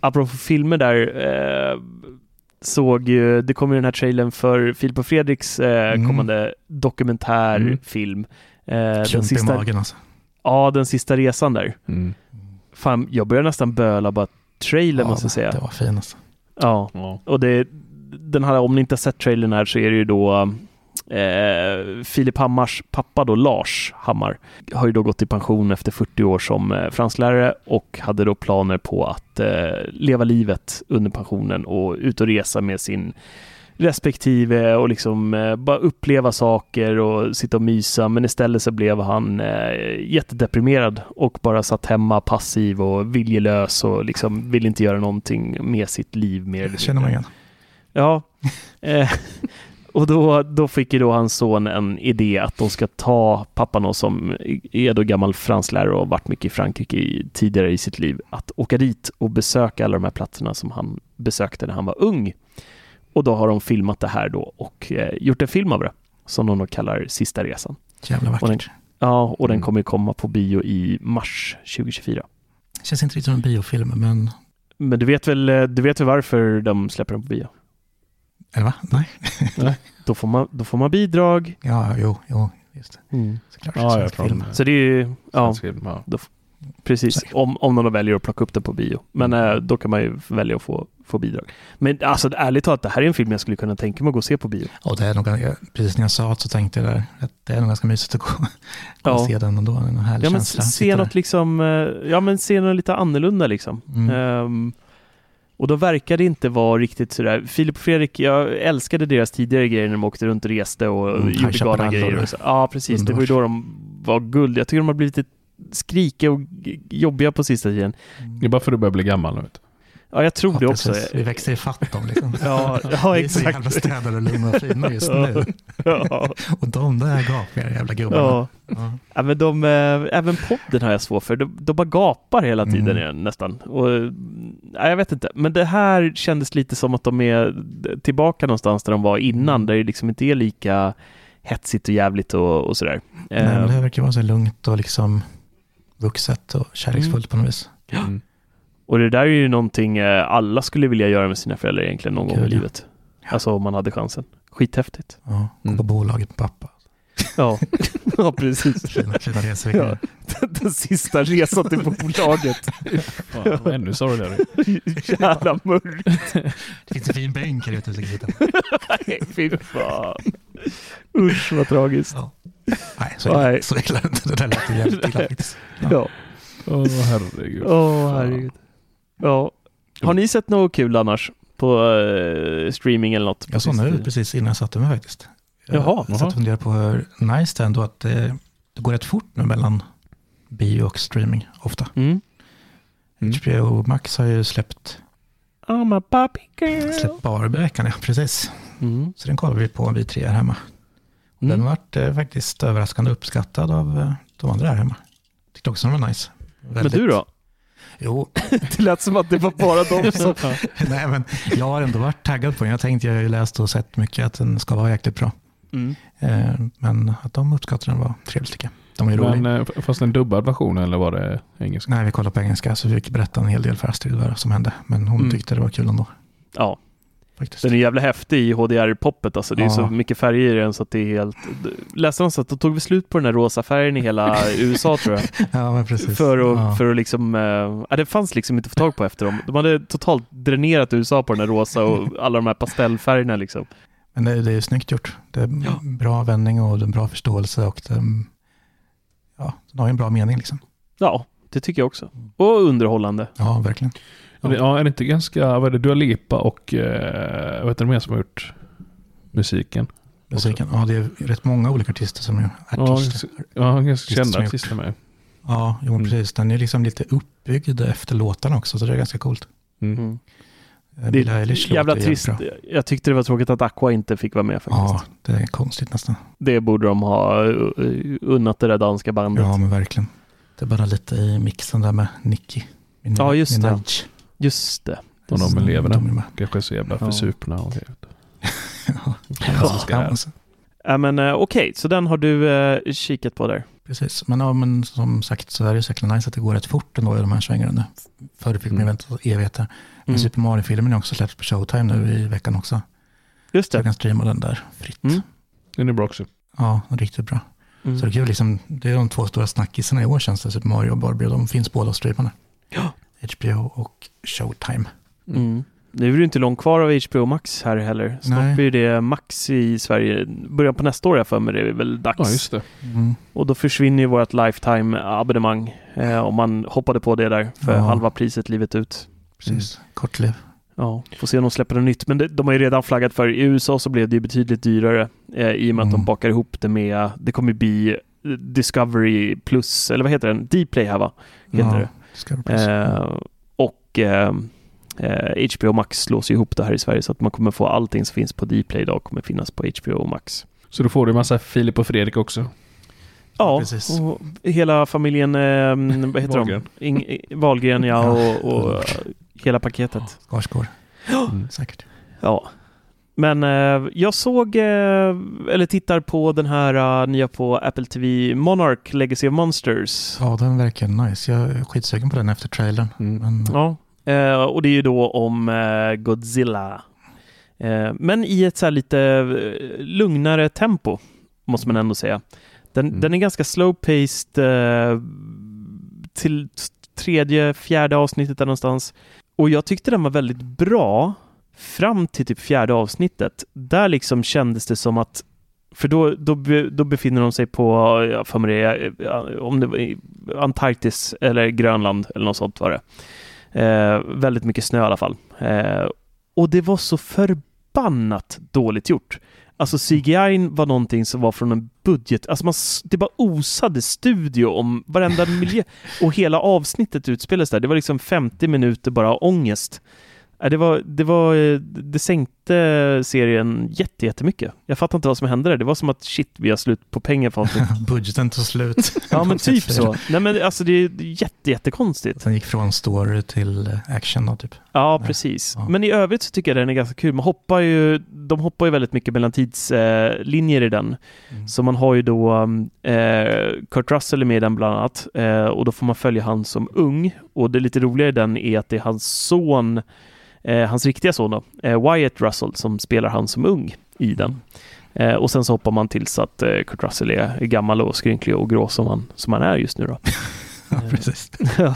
Speaker 2: apropå filmer där, eh, såg ju, det kom ju den här trailern för Filip och Fredriks eh,
Speaker 1: Mm.
Speaker 2: kommande
Speaker 3: Mm.
Speaker 2: dokumentärfilm. Eh, den,
Speaker 1: Klump i
Speaker 2: sista,
Speaker 1: magen alltså.
Speaker 2: ja, den sista resan där.
Speaker 3: Mm.
Speaker 2: Fan, jag börjar nästan böla bara trailern måste jag säga.
Speaker 1: Det var fin alltså.
Speaker 2: Ja,
Speaker 3: Ja.
Speaker 2: och det, den här, om ni inte har sett trailern här så är det ju då eh, Filip Hammars pappa då, Lars Hammar, har ju då gått i pension efter 40 år som eh, franslärare och hade då planer på att eh, leva livet under pensionen och ut och resa med sin respektive och liksom eh, bara uppleva saker och sitta och mysa men istället så blev han eh, jättedeprimerad och bara satt hemma passiv och viljelös och liksom ville inte göra någonting med sitt liv mer eller
Speaker 1: Det känner man
Speaker 2: mindre.
Speaker 1: igen.
Speaker 2: Ja. Eh, och då, då fick ju då hans son en idé att de ska ta pappan då, som är då gammal franslärare och har varit mycket i Frankrike i, tidigare i sitt liv, att åka dit och besöka alla de här platserna som han besökte när han var ung. Och då har de filmat det här då och eh, gjort en film av det som de då kallar Sista resan.
Speaker 1: Jävla
Speaker 2: Och den,
Speaker 1: vackert.
Speaker 2: ja, och den
Speaker 3: Mm.
Speaker 2: kommer ju komma på bio i mars 2024.
Speaker 1: Känns inte riktigt som en biofilm, men...
Speaker 2: Men du vet väl, eh, du vet väl varför de släpper den på bio?
Speaker 1: Eller va? Nej?
Speaker 2: Då får man, då får man bidrag.
Speaker 1: Ja, jo, jo, just det. Såklart.
Speaker 3: Ja, jag
Speaker 1: Svensk
Speaker 3: tror
Speaker 1: film.
Speaker 3: det.
Speaker 2: Så det är ju, ja,
Speaker 3: Svensk film, ja.
Speaker 2: precis.
Speaker 1: Säkert. Mm.
Speaker 2: Om, om någon väljer att plocka upp det på bio. Men eh, då kan man ju välja att få, få bidrag. Men alltså ärligt talat, det här är en film jag skulle kunna tänka mig att gå och se på bio.
Speaker 1: Och det är nog, jag- precis när jag sa det så tänkte jag där, att det är nog ganska mysigt att gå gå och
Speaker 2: Ja.
Speaker 1: se den ändå. En härlig
Speaker 2: Ja men
Speaker 1: känsla.
Speaker 2: se
Speaker 1: Sitta
Speaker 2: något liksom, eh, ja men se något lite annorlunda liksom.
Speaker 1: Mm.
Speaker 2: Ehm, och då verkar det inte vara riktigt sådär, Filip och Fredrik, jag älskade deras tidigare grejer när de åkte runt och reste och
Speaker 1: Mm, High
Speaker 2: gjorde galna
Speaker 1: Chaparral
Speaker 2: grejer.
Speaker 1: och-
Speaker 2: Och så. Ja precis, det var ju då de var guld. Jag tycker de har blivit lite skrikiga och g- jobbiga på sista tiden.
Speaker 3: Det är bara för att du börjar bli gammal nu. Vet. du.
Speaker 2: Ja, jag tror
Speaker 1: Ja,
Speaker 2: det också.
Speaker 1: precis. Vi växer i fatt dem liksom.
Speaker 2: Ja, ja,
Speaker 1: Vi är så
Speaker 2: exakt.
Speaker 1: jävla städade, lugna och fina just nu.
Speaker 2: Ja.
Speaker 1: Och de där gapiga jävla gubbarna.
Speaker 2: Ja.
Speaker 1: Ja.
Speaker 2: Ja, men de, eh, även podden har jag svårt för. De, de bara gapar hela tiden
Speaker 1: Mm.
Speaker 2: i den nästan. Och, eh, nej, jag vet inte, men det här kändes lite som att de är tillbaka någonstans där de var innan, där det liksom inte är lika hetsigt och jävligt och, och sådär.
Speaker 1: Nej, men
Speaker 2: Eh,
Speaker 1: det här verkar vara så lugnt och liksom vuxet och kärleksfullt på något vis.
Speaker 3: Mm.
Speaker 2: och det där är ju någonting eh, alla skulle vilja göra med sina föräldrar egentligen någon gång i
Speaker 1: Kul, ja.
Speaker 2: livet. Alltså om man hade chansen. Skithäftigt.
Speaker 1: Ja. Gå
Speaker 3: Mm.
Speaker 1: på bolaget med pappa.
Speaker 2: Ja, ja precis.
Speaker 1: Fina, fina resor.
Speaker 2: Ja. Den sista resan till bolaget.
Speaker 3: Fan, det var ännu sorgligare.
Speaker 2: Jävla mörk.
Speaker 1: Det finns en fin bänk här ute. vi ska sitta.
Speaker 2: Nej, fy fan. Usch vad tragiskt.
Speaker 1: Ja. Nej, så illa,
Speaker 2: Nej.
Speaker 1: så illa. är det inte. Det där lät ju jävligt illa faktiskt.
Speaker 2: Ja.
Speaker 3: Åh herregud.
Speaker 2: Åh, herregud. Ja. Har ni sett något kul annars? På eh, streaming eller något?
Speaker 1: Jag såg
Speaker 2: Precis.
Speaker 1: nu precis innan jag satte mig faktiskt. Jag
Speaker 2: Jaha,
Speaker 1: satt
Speaker 2: jaha.
Speaker 1: och funderade på hur nice det är ändå att det det går rätt fort nu mellan bio och streaming ofta.
Speaker 2: Mm.
Speaker 1: HBO Max har ju släppt,
Speaker 2: I'm a puppy girl.
Speaker 1: släppt Barbie-veckan, ja precis.
Speaker 2: Mm.
Speaker 1: Så den kollar vi på vi tre här hemma. Och
Speaker 2: Mm.
Speaker 1: Den vart eh, faktiskt överraskande uppskattad av eh, de andra här hemma. Tyckte också den var nice.
Speaker 2: Men
Speaker 1: Väldigt-
Speaker 2: du då?
Speaker 1: Jo,
Speaker 2: Det lät som att det var bara de som...
Speaker 1: nej men jag har ändå varit taggad på den. Jag tänkte, jag har ju läst och sett mycket att den ska vara jäkligt bra.
Speaker 2: Mm.
Speaker 1: Eh, Men att de uppskattar den var trevligt tycker jag. De är ju roliga.
Speaker 3: Men eh, f- fanns det en dubbad version eller var det engelska?
Speaker 1: Nej, vi kollade på engelska så vi fick berätta en hel del för Astrid vad som hände. Men hon
Speaker 2: Mm.
Speaker 1: tyckte det var kul ändå.
Speaker 2: Ja,
Speaker 1: Faktiskt.
Speaker 2: den är jävla häftig i HDR-poppet alltså. Det är
Speaker 1: Ja.
Speaker 2: så mycket färger i den så att det är helt... Läste någonstans att då tog vi slut på den här rosa färgen i hela USA tror jag.
Speaker 1: Ja, men precis.
Speaker 2: För att,
Speaker 1: ja.
Speaker 2: för att liksom... eh, Ja, det fanns liksom inte att få tag på efter dem. De hade totalt dränerat USA på den här rosa och alla de här pastellfärgerna liksom.
Speaker 1: Men det, det är snyggt gjort. Det är bra vändning och det är en bra förståelse och den, ja, den har ju en bra mening liksom.
Speaker 2: Ja, det tycker jag också. Och underhållande.
Speaker 1: Ja, verkligen.
Speaker 3: Ja. det- Ja, är det inte ganska, vad är det, Dua Lipa och eh, vad heter de mer som har gjort musiken?
Speaker 1: Musiken. Ja, det är rätt många olika artister som är
Speaker 3: Ja,
Speaker 1: artister.
Speaker 3: s- ja,
Speaker 1: Artister
Speaker 3: ganska
Speaker 1: som
Speaker 3: kända
Speaker 1: har
Speaker 3: artister med.
Speaker 1: Ja, jo,
Speaker 3: Mm.
Speaker 1: precis. Den är liksom lite uppbyggd efter låtarna också, så det är ganska coolt.
Speaker 3: Mm.
Speaker 2: Mm.
Speaker 1: Eh,
Speaker 2: Det
Speaker 1: Billie Eilish
Speaker 2: är jävla
Speaker 1: låter jävligt
Speaker 2: trist.
Speaker 1: bra.
Speaker 2: Jag tyckte det var tråkigt att Aqua inte fick vara med faktiskt.
Speaker 1: Ja, det är konstigt nästan.
Speaker 2: Det borde de ha eh, unnat det där danska
Speaker 3: Mm.
Speaker 2: bandet.
Speaker 1: Ja, men verkligen. Det är bara lite i mixen där med Nicky. Min,
Speaker 2: Ja, just det.
Speaker 1: Minaj.
Speaker 2: Just det.
Speaker 3: Och de eleverna.
Speaker 1: De är med.
Speaker 3: Kanske är så jävla
Speaker 2: Ja.
Speaker 3: försupna. Och,
Speaker 1: Ja,
Speaker 3: Ja.
Speaker 1: ja, men så-
Speaker 2: Ja, men eh, okej, så den har du eh, kikat på där.
Speaker 1: precis. Men, ja, men som sagt så är det ju så jäkla nice att det går rätt fort ändå i de här svängarna nu. Förr fick man ju
Speaker 3: Mm.
Speaker 1: vänta evigheter. Men
Speaker 2: Mm.
Speaker 1: Super Mario-filmen är också släppt på Showtime nu i veckan också.
Speaker 2: Just
Speaker 1: Så jag
Speaker 2: det.
Speaker 1: kan streama den där fritt.
Speaker 2: Mm.
Speaker 3: Den är bra också.
Speaker 1: Ja, riktigt bra.
Speaker 2: Mm.
Speaker 1: Så det är kul, liksom, det är de två stora snackisarna i år känns det, Super Mario och Barbie. Och de finns båda att streama nu. HBO och Showtime.
Speaker 2: Mm. Nu är det ju inte långt kvar av HBO Max här heller. Snart
Speaker 1: Nej.
Speaker 2: blir det Max i Sverige. Början på nästa år har jag för mig det är väl dags.
Speaker 3: Ja, just det.
Speaker 1: Mm.
Speaker 2: Och då försvinner ju vårt lifetime-abonnemang. Eh, om man hoppade på det där för
Speaker 1: Ja.
Speaker 2: halva priset livet ut.
Speaker 1: Precis,
Speaker 2: Mm.
Speaker 1: kortliv.
Speaker 2: Ja, får se om de släpper något nytt. Men det, de har ju redan flaggat för, i USA så blev det ju betydligt dyrare eh, i och med att de
Speaker 1: Mm.
Speaker 2: bakar ihop det med, det kommer bli eh, Discovery Plus, eller vad heter den? Dplay här va? Heter
Speaker 1: Ja,
Speaker 2: det.
Speaker 1: ska det bli så.
Speaker 2: Eh, och eh, eh, HBO Max slås ju ihop det här i Sverige så att man kommer få allting som finns på Dplay idag kommer finnas på HBO Max.
Speaker 3: Så då får du en massa Filip och Fredrik också.
Speaker 2: Ja,
Speaker 1: precis.
Speaker 2: och hela familjen, eh, vad heter
Speaker 3: Wahlgren.
Speaker 2: de? Ing- Wahlgren ja, och, och eh, hela paketet.
Speaker 1: Skarsgård.
Speaker 3: Mm.
Speaker 1: Säkert.
Speaker 2: Ja. Men eh, jag såg, eh, eller tittar på den här eh, nya på Apple TV, Monarch Legacy of Monsters.
Speaker 1: Ja, den verkar nice. Jag är skitsugen på den efter trailern.
Speaker 3: Mm.
Speaker 1: Men,
Speaker 2: Ja. Eh, och det är ju då om eh, Godzilla. Eh, men i ett så här lite eh, lugnare tempo, måste man ändå säga. Den,
Speaker 3: Mm.
Speaker 2: den är ganska slow-paced eh, till t- tredje, fjärde avsnittet där någonstans. Och jag tyckte den var väldigt bra fram till typ fjärde avsnittet. Där liksom kändes det som att för då, då, be- då befinner de sig på, jag för mig det, eh, om det var i Antarktis eller Grönland eller något sånt var det. Eh, väldigt mycket snö i alla fall. Eh, och det var så förbannat dåligt gjort. Alltså CGI var någonting som var från en budget, alltså man, s- det bara osade studio om varenda miljö och hela avsnittet utspelades där. Det var liksom 50 minuter bara av ångest. Eh, Det, var, det, var, eh, det sänkte serien jätte- jättemycket. Jag fattar inte vad som hände där. Det var som att shit, vi har slut på pengar för avsnittet.
Speaker 1: budgeten tog slut.
Speaker 2: Ja men typ så. Nej men alltså det är jätte, jättekonstigt.
Speaker 1: Den gick från story till eh, action då, typ.
Speaker 2: Ja,
Speaker 1: Nej.
Speaker 2: precis.
Speaker 1: Ja.
Speaker 2: Men i övrigt så tycker jag den är ganska kul. Man hoppar ju, de hoppar ju väldigt mycket mellan tidslinjer i den. Så man har ju då um, eh, Kurt Russell är med i den bland annat eh, och då får man följa han som ung. Och det lite roliga i den är att det är hans son, eh, hans riktiga son då, eh, Wyatt Russell, som spelar han som ung i den. Eh, och sen så hoppar man tills att eh, Kurt Russell är, är gammal och skrynklig och grå som han, som han är just nu då.
Speaker 1: Ja, precis.
Speaker 2: Ja.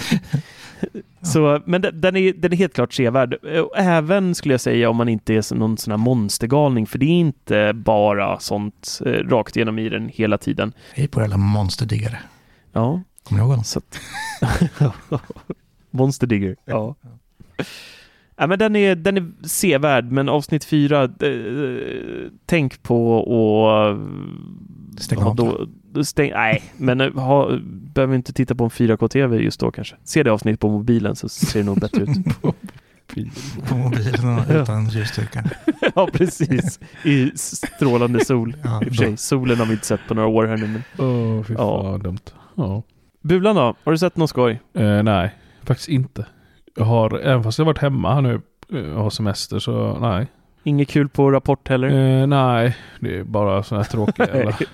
Speaker 2: Så, men de- den är, den är helt klart sevärd. Eh, Och Även skulle jag säga om man inte är så- någon sån här monstergalning, för det är inte bara sånt eh, rakt igenom i den hela tiden.
Speaker 1: Hej på er alla monsterdiggare.
Speaker 2: Ja,
Speaker 1: Kommer ni ihåg honom?
Speaker 2: så att... Monsterdigger, ja. ja men den, är, den är sevärd, men avsnitt fyra, eh, tänk på och
Speaker 1: Stäng
Speaker 2: ha
Speaker 1: av.
Speaker 2: då, då stäng, nej, men eh, ha, behöver inte titta på en 4K-TV just då kanske. Se det avsnittet på mobilen så ser det nog bättre ut.
Speaker 1: på mobilen och utan ljusstyrka.
Speaker 2: ja, precis. I strålande sol.
Speaker 1: Ja,
Speaker 2: I och för sig, solen har vi inte sett på några år här nu. Men...
Speaker 3: Åh, oh, fy
Speaker 2: Ja.
Speaker 3: fan vad dumt. Ja.
Speaker 2: Bulan då? Har du sett någon skoj?
Speaker 3: Eh, nej, faktiskt inte. Jag har, även fast jag har varit hemma här nu eh, och har semester så nej.
Speaker 2: Inget kul på Rapport heller?
Speaker 3: Eh, nej, det är bara sådana här tråkiga jävla...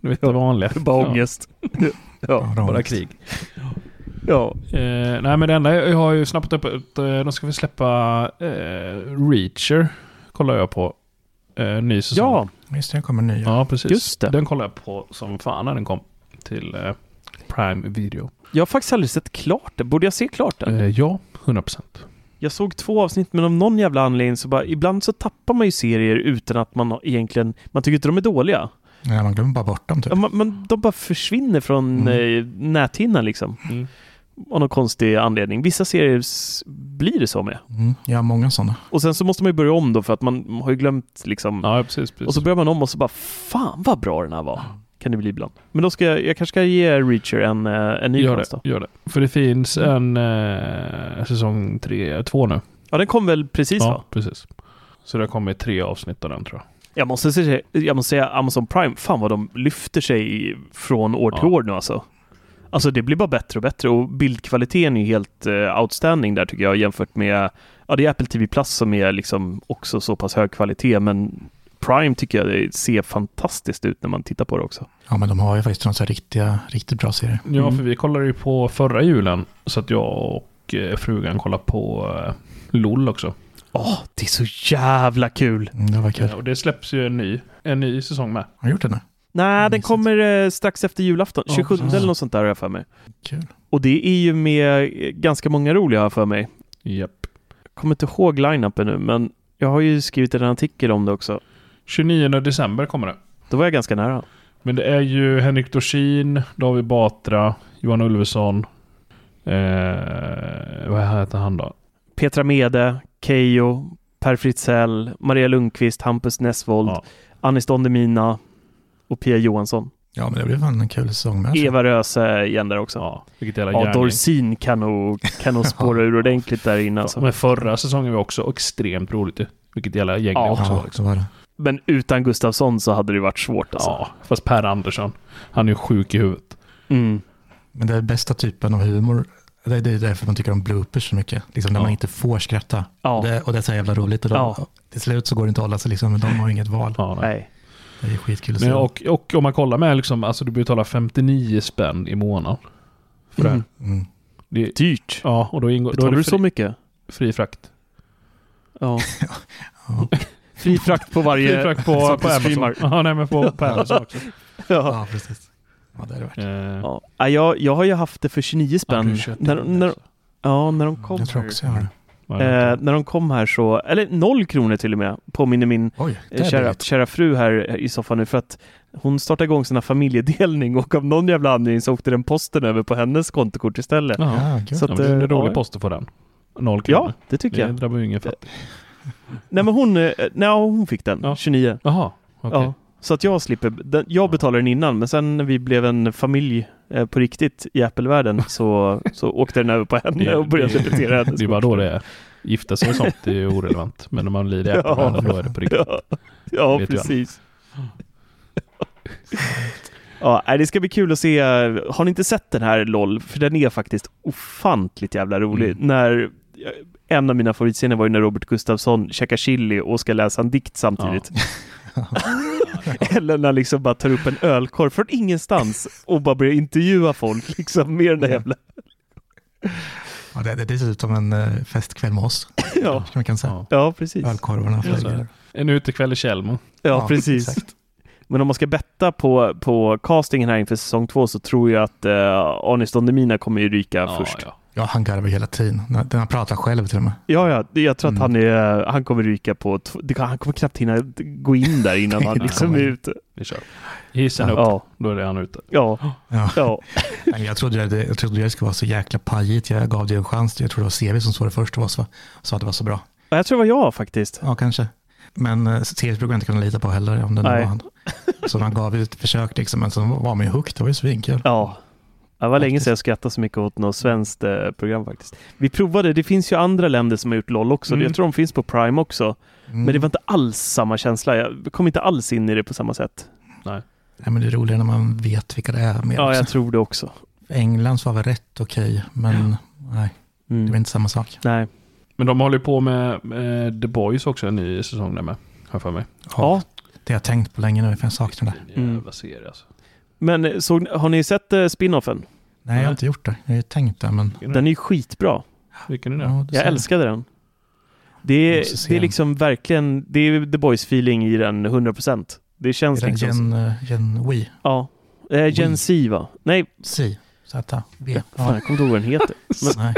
Speaker 3: Du vet det vanliga.
Speaker 2: Bara ångest. ja.
Speaker 1: Bra.
Speaker 3: Bara krig.
Speaker 2: ja.
Speaker 3: Eh, nej men det enda jag jag har ju snappat upp att eh, de ska väl släppa eh, Reacher. Kollar jag på. Eh, ny säsong.
Speaker 2: Ja,
Speaker 1: Just det, jag kommer nya.
Speaker 3: ja, precis.
Speaker 2: Just det.
Speaker 3: Den kollar jag på som fan när den kom till eh, Prime Video.
Speaker 2: jag har faktiskt aldrig sett klart det. Borde jag se klart den?
Speaker 3: Eh, ja, 100%.
Speaker 2: Jag såg två avsnitt, men av någon jävla anledning så bara... Ibland så tappar man ju serier utan att man har egentligen... Man tycker inte de är dåliga.
Speaker 1: Nej, man glömmer bara bort dem typ.
Speaker 2: Ja, man, man, de bara försvinner från
Speaker 1: Mm.
Speaker 2: eh, näthinnan liksom.
Speaker 3: Mm.
Speaker 2: Av någon konstig anledning. Vissa serier s- blir det så med.
Speaker 1: Mm, jag har många sådana.
Speaker 2: Och sen så måste man ju börja om då för att man har ju glömt liksom...
Speaker 3: Ja, precis. precis.
Speaker 2: Och så börjar man om och så bara fan vad bra den här var. Kan det bli ibland. Men då ska jag, jag kanske ska ge Reacher en, eh, en ny
Speaker 3: gör
Speaker 2: chans då.
Speaker 3: det, gör det. För det finns en eh, säsong tre, två nu.
Speaker 2: Ja den kom väl precis
Speaker 3: ja,
Speaker 2: va?
Speaker 3: precis. Så det har kommit tre avsnitt av den tror jag.
Speaker 2: Jag måste, säga, jag måste säga Amazon Prime, fan vad de lyfter sig från år till
Speaker 3: Ja.
Speaker 2: år nu alltså. Alltså det blir bara bättre och bättre och bildkvaliteten är ju helt eh, outstanding där tycker jag jämfört med, ja det är Apple TV Plus som är liksom också så pass hög kvalitet men Prime tycker jag det ser fantastiskt ut när man tittar på det också.
Speaker 1: Ja, men de har ju faktiskt några så här riktiga, riktigt bra serier.
Speaker 3: Ja,
Speaker 2: Mm.
Speaker 3: för vi kollade ju på förra julen. Så att jag och eh, frugan kollade på eh, LOL också.
Speaker 2: Åh, det är så jävla kul!
Speaker 1: Mm, det var kul.
Speaker 3: Ja, och det släpps ju en ny, en ny säsong med.
Speaker 1: Har du gjort det nu?
Speaker 2: Nej, den
Speaker 1: Mysigt.
Speaker 2: kommer eh, strax efter julafton,
Speaker 3: Ja,
Speaker 2: 27
Speaker 1: precis.
Speaker 2: eller något sånt där har jag för mig.
Speaker 1: Kul.
Speaker 2: Och det är ju med eh, ganska många roliga har jag för mig.
Speaker 3: Japp.
Speaker 2: kommer inte ihåg line-upen nu, men jag har ju skrivit en artikel om det också.
Speaker 3: 29 december kommer det.
Speaker 2: Då var jag ganska nära.
Speaker 3: Men det är ju Henrik Dorsin, David Batra, Johan Ulveson. Eh, vad heter han då?
Speaker 2: Petra Mede, Keyyo, Per Fritzell, Maria Lundqvist, Hampus Nessvold,
Speaker 3: Ja.
Speaker 2: Anis Don Demina och Pia Johansson.
Speaker 1: Ja, men det blev fan en kul säsong med. alltså.
Speaker 2: Eva Röse igen där också. Ja,
Speaker 3: Ja, vilket jävla
Speaker 2: ja
Speaker 3: gärning.
Speaker 2: Dorsin kan nog, kan nog spåra ur ordentligt där inne
Speaker 3: Ja,
Speaker 2: alltså.
Speaker 3: Men förra säsongen var också extremt roligt ju. Vilket jävla gäng det
Speaker 2: Ja.
Speaker 3: också var.
Speaker 1: Ja, så
Speaker 3: Liksom.
Speaker 1: var det.
Speaker 2: Men utan Gustafsson så hade det varit svårt alltså.
Speaker 3: Ja, fast Per Andersson. Han är ju sjuk i huvudet.
Speaker 2: Mm.
Speaker 1: Men det är bästa typen av humor. Det är det är därför man tycker om bloopers så mycket. Liksom när
Speaker 3: Ja.
Speaker 1: man inte får skratta.
Speaker 2: Ja.
Speaker 1: Det, och det är så jävla roligt. Och de,
Speaker 2: Ja.
Speaker 1: Till slut så går det inte att hålla sig, liksom, men de har inget val.
Speaker 3: Ja, nej.
Speaker 2: Nej.
Speaker 1: Det är skitkul att se.
Speaker 3: Men och, och om man kollar med liksom, alltså du betalar 59 spänn i månaden. För det här.
Speaker 2: Mm.
Speaker 1: Mm.
Speaker 3: det.
Speaker 2: Dyrt.
Speaker 3: Ja, och då ingår då
Speaker 2: Betalar
Speaker 3: är
Speaker 2: du
Speaker 3: det
Speaker 2: så
Speaker 3: fri,
Speaker 2: mycket?
Speaker 3: fri frakt.
Speaker 2: Ja. Fri frakt på varje...
Speaker 3: Fri frakt på,
Speaker 2: Eh, som
Speaker 3: på
Speaker 2: du
Speaker 3: Amazon.
Speaker 2: streamar.
Speaker 3: Ja, nej men på, på Amazon också.
Speaker 2: Ja.
Speaker 1: Ja, precis. Ja, det är det värt.
Speaker 3: Eh,
Speaker 2: Ja, nej, jag, jag har ju haft det för 29
Speaker 3: ja,
Speaker 2: spänn. Mm.
Speaker 3: du köpte
Speaker 2: när,
Speaker 3: den
Speaker 2: när,
Speaker 3: också.
Speaker 2: ja, när de kom
Speaker 1: Jag tror också jag har det.
Speaker 3: Ja,
Speaker 2: här, eh, när de kom här så, eller noll kronor till och med, påminner min
Speaker 1: Oj, det
Speaker 2: eh,
Speaker 1: är
Speaker 2: kära,
Speaker 1: billigt.
Speaker 2: kära fru här eh, i soffan nu för att hon startade igång sina familjedelning och av någon jävla anledning så åkte den posten över på hennes kontokort istället.
Speaker 3: Ja,
Speaker 1: Ja, kul.
Speaker 2: Så
Speaker 3: ja, men
Speaker 2: att,
Speaker 3: det är en
Speaker 2: eh,
Speaker 3: rolig
Speaker 2: ja.
Speaker 3: post att få den. Noll
Speaker 2: Ja,
Speaker 3: kronor.
Speaker 2: det tycker
Speaker 3: Det
Speaker 2: jag. Eh,
Speaker 3: drabbar ju ingen fattig.
Speaker 2: Nej men hon, eh, nej, hon fick den,
Speaker 3: Ja.
Speaker 2: 29.
Speaker 3: Jaha, okej.
Speaker 2: Ja. Så att jag slipper, den, jag betalade den innan men sen när vi blev en familj eh, på riktigt i Apple-världen så, så åkte den över på henne
Speaker 3: Det-
Speaker 2: och började
Speaker 3: det-
Speaker 2: debitera hennes
Speaker 3: Det är bara då det är. Gifta sig och sånt det är ju orelevant. Men när man lider i
Speaker 2: Ja.
Speaker 3: ja. då är det på riktigt.
Speaker 2: Ja, ja
Speaker 3: Vet du
Speaker 2: precis. Ja, nej, det ska bli kul att se. Har ni inte sett den här LOL? För den är faktiskt ofantligt jävla rolig.
Speaker 3: Mm.
Speaker 2: När, eh, en av mina favoritscener var ju när Robert Gustafsson käkar chili och ska läsa en dikt samtidigt. Eller när han liksom bara tar upp en ölkorv från ingenstans och bara börjar intervjua folk liksom med den där jävla...
Speaker 1: Ja, det, det, det ser ut som en eh, festkväll med oss.
Speaker 2: Ja,
Speaker 1: Som man kan säga.
Speaker 3: Ja.
Speaker 2: ja precis.
Speaker 1: Ölkorvarna
Speaker 3: Ja, så är
Speaker 1: flyger.
Speaker 3: det. En utekväll i Tjällmo.
Speaker 2: Ja, precis.
Speaker 1: exakt.
Speaker 2: Men om man ska betta på, på castingen här inför säsong två så tror jag att eh, Anis Don Demina kommer ju ryka först.
Speaker 3: Ja.
Speaker 1: Ja, han garvar hela tiden. Den- Den han pratar själv till och med.
Speaker 2: Ja, ja, det- jag tror att
Speaker 1: Mm.
Speaker 2: han, är, han kommer ryka på... t- det kan- Han kommer knappt hinna gå in där innan han
Speaker 1: Nej,
Speaker 2: liksom är
Speaker 1: kommer.
Speaker 2: ute.
Speaker 3: Vi kör. Hissen upp,
Speaker 2: Ja,
Speaker 3: då är han ute.
Speaker 2: ja,
Speaker 1: Ja.
Speaker 2: ja.
Speaker 1: Nej, Jag trodde det, jag trodde det skulle vara så jäkla pajigt. Jag gav det en chans. Jag tror det var CV som såg det först av oss va? Sa att det var så bra.
Speaker 2: Ja, Jag tror det var jag faktiskt.
Speaker 1: Ja, kanske. Men eh, CV brukar jag inte kunna lita på heller om det nu
Speaker 2: Nej.
Speaker 1: var han. Så man gav ut ett försök liksom, men så var man ju hooked. Det var ju svinkul.
Speaker 2: Ja. Det var länge
Speaker 1: Faktiskt.
Speaker 2: sedan jag skrattade så mycket åt något svenskt eh, program faktiskt. Vi provade, det finns ju andra länder som har gjort LOL också.
Speaker 1: Mm.
Speaker 2: Jag tror de finns på Prime också.
Speaker 1: Mm.
Speaker 2: Men det var inte alls samma känsla. Jag kom inte alls in i det på samma sätt.
Speaker 1: Mm. Nej, men det är roligare när man vet vilka det är. Mer
Speaker 2: Ja,
Speaker 1: också.
Speaker 2: jag tror det också.
Speaker 1: Englands var väl rätt okej, men nej, det
Speaker 2: Mm.
Speaker 1: var inte samma sak.
Speaker 2: Nej.
Speaker 3: Men de håller ju på med, med The Boys också, en ny säsong där med. Har jag för mig.
Speaker 2: Ja.
Speaker 1: Det har jag tänkt på länge nu, för jag saknar det.
Speaker 2: Mm.
Speaker 3: Jävla serie alltså.
Speaker 2: Men eh, såg, ni- har ni sett eh, spin-offen?
Speaker 1: Nej, jag har inte gjort det. Jag har ju tänkt det, men...
Speaker 2: Den är ju skitbra.
Speaker 3: Vilken är det?
Speaker 1: Ja, du
Speaker 2: Jag
Speaker 1: ser.
Speaker 2: älskade den. Det är,
Speaker 1: Måste se
Speaker 2: det är
Speaker 1: den.
Speaker 2: liksom verkligen, det är The Boys-feeling i den 100%. Det känns
Speaker 1: Är det
Speaker 2: liksom...
Speaker 1: Gen, eh, gen Wii?
Speaker 2: Ja. Eh, Gen
Speaker 1: Wii.
Speaker 2: Z va? Nej,
Speaker 1: C? Z? V?
Speaker 2: fan
Speaker 1: Ja,
Speaker 2: jag kommer inte ihåg vad den heter.
Speaker 1: nej.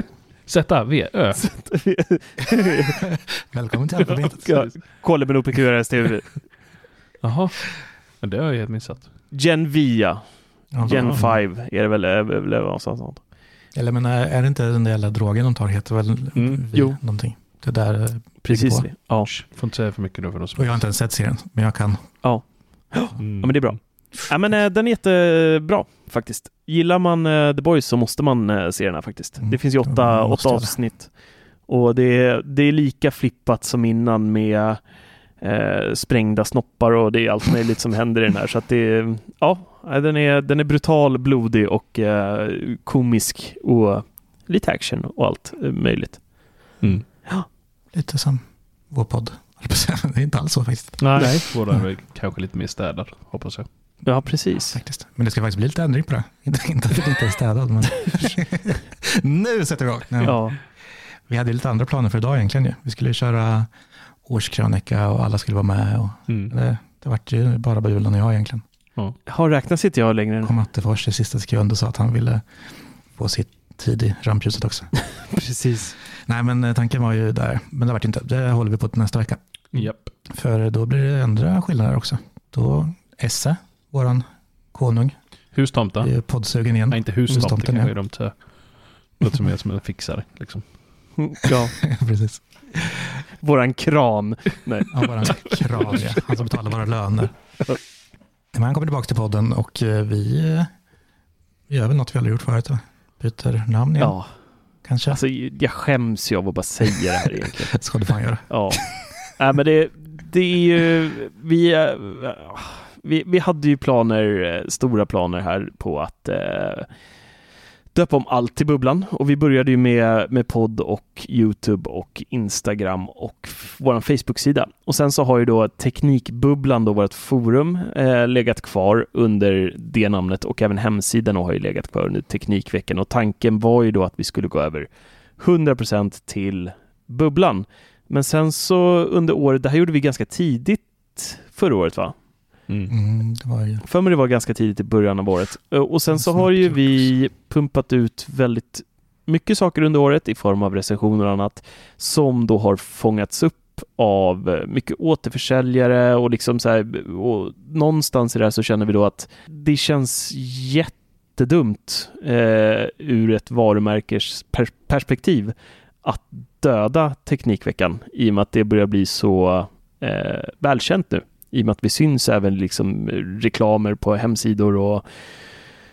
Speaker 3: Z, V, Ö.
Speaker 1: Välkommen till alfabetet.
Speaker 2: Ja, Kollen med OPQRS-TV.
Speaker 3: Jaha. Men det har jag helt missat.
Speaker 2: Gen Via.
Speaker 1: Ja,
Speaker 2: Gen
Speaker 1: ja.
Speaker 2: 5 är det väl, eh, eller vad sånt.
Speaker 1: Eller men eh, är är det inte den där jävla drogen de tar? Heter väl
Speaker 3: Mm,
Speaker 1: vi
Speaker 2: jo.
Speaker 1: någonting? Det där... eh,
Speaker 2: Precis.
Speaker 1: på.
Speaker 2: Ja.
Speaker 3: Får inte säga för mycket nu för de
Speaker 1: Och
Speaker 3: som... Mm.
Speaker 1: jag har inte ens sett serien, men jag kan.
Speaker 2: Ja, men det är bra. Ja, men eh, den är jättebra faktiskt. Gillar man eh, The Boys så måste man eh, se den här faktiskt.
Speaker 1: Mm.
Speaker 2: Det finns ju åtta,
Speaker 1: Ja, man måste
Speaker 2: åtta
Speaker 1: göra det.
Speaker 2: avsnitt. Och det är, det är lika flippat som innan med eh, sprängda snoppar och det är allt möjligt som händer i den här. Så att det är, ja, nej, den är, den är brutal, blodig och eh, komisk och lite action och allt eh, möjligt.
Speaker 3: Mm.
Speaker 1: Lite som vår podd. höll på att säga. Det är inte alls så faktiskt.
Speaker 3: Nej, våra är väl kanske lite mer städad, hoppas jag.
Speaker 2: Ja, precis.
Speaker 1: faktiskt. Men det ska faktiskt bli lite ändring på det. Inte, inte att det inte är städad, men... nu sätter vi igång! Nej, men-
Speaker 2: Ja,
Speaker 1: Vi hade ju lite andra planer för idag egentligen. Ju. Vi skulle ju köra årskrönika och alla skulle vara med. Och det, det vart ju bara Bulan och jag egentligen.
Speaker 2: har räknat sitt jag längre än
Speaker 1: Kom Attefors i sista sekund och sa att han ville få sitt tid i rampljuset också.
Speaker 2: precis.
Speaker 1: Nej, men eh, tanken var ju där. Men det vart inte. Det håller vi på till nästa vecka.
Speaker 3: Japp.
Speaker 1: För då blir det andra skillnader också. Då Esse, våran konung,
Speaker 3: Hustomta.
Speaker 1: är ju poddsugen igen.
Speaker 3: Nej, inte hustomte
Speaker 1: Hustomten,
Speaker 3: kanske
Speaker 1: ja.
Speaker 3: de säger. Låter som jag som en fixare, liksom.
Speaker 2: Ja,
Speaker 1: Precis.
Speaker 2: våran kran.
Speaker 1: Han bara krav, ja. han som betalar våra löner. Men han kommer tillbaka till podden och eh, vi eh, vi gör väl något vi aldrig gjort förut. va? Byter namn igen
Speaker 2: Ja.
Speaker 1: kanske.
Speaker 2: Alltså, jag skäms ju av att bara säga det här egentligen.
Speaker 1: Ska du fan göra.
Speaker 2: Ja. Nej, men det, det är ju... Vi, eh, vi, vi hade ju planer, eh, stora planer här på att eh, döpa om allt till Bubblan. Och vi började ju med, med podd och YouTube och Instagram och f- vår Facebook-sida. Och sen så har ju då Teknikbubblan, då vårt forum, eh, legat kvar under det namnet och även hemsidan har ju legat kvar under Teknikveckan. Och tanken var ju då att vi skulle gå över 100% till Bubblan. Men sen så under året, det här gjorde vi ganska tidigt förra året va?
Speaker 1: Mm, det var ju
Speaker 2: För mig det var ganska tidigt i början av året. Eh, Och sen så
Speaker 1: Snabbt
Speaker 2: har ju
Speaker 1: gjort
Speaker 2: vi pumpat ut väldigt mycket saker under året i form av recensioner och annat som då har fångats upp av eh, mycket återförsäljare och liksom så här, och någonstans i det här så känner vi då att det känns jättedumt eh, ur ett varumärkes per perspektiv att döda Teknikveckan i och med att det börjar bli så eh, välkänt nu i och med att vi syns även liksom reklamer på hemsidor och,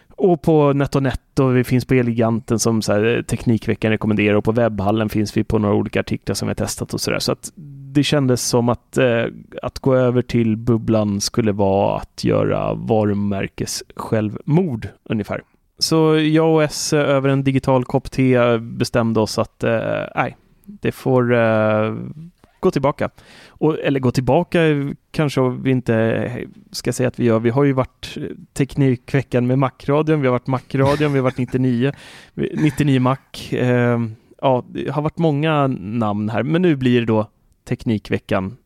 Speaker 2: och på NetOnNet och vi finns på Eleganten som så här, eh, Teknikveckan rekommenderar och på Webbhallen finns vi på några olika artiklar som vi har testat och sådär. Så att det kändes som att, eh, att gå över till bubblan skulle vara att göra varumärkes-självmord ungefär. Så jag och S eh, över en digital kopp te eh, bestämde oss att eh, nej, det får eh, gå tillbaka. Och, eller gå tillbaka kanske vi inte eh, ska säga att vi gör. Vi har ju varit eh, Teknikveckan med Macradion, vi har varit Macradion, vi har varit 99, vi- 99 Mac. Eh, ja, det har varit många namn här, men nu blir det då Teknikveckan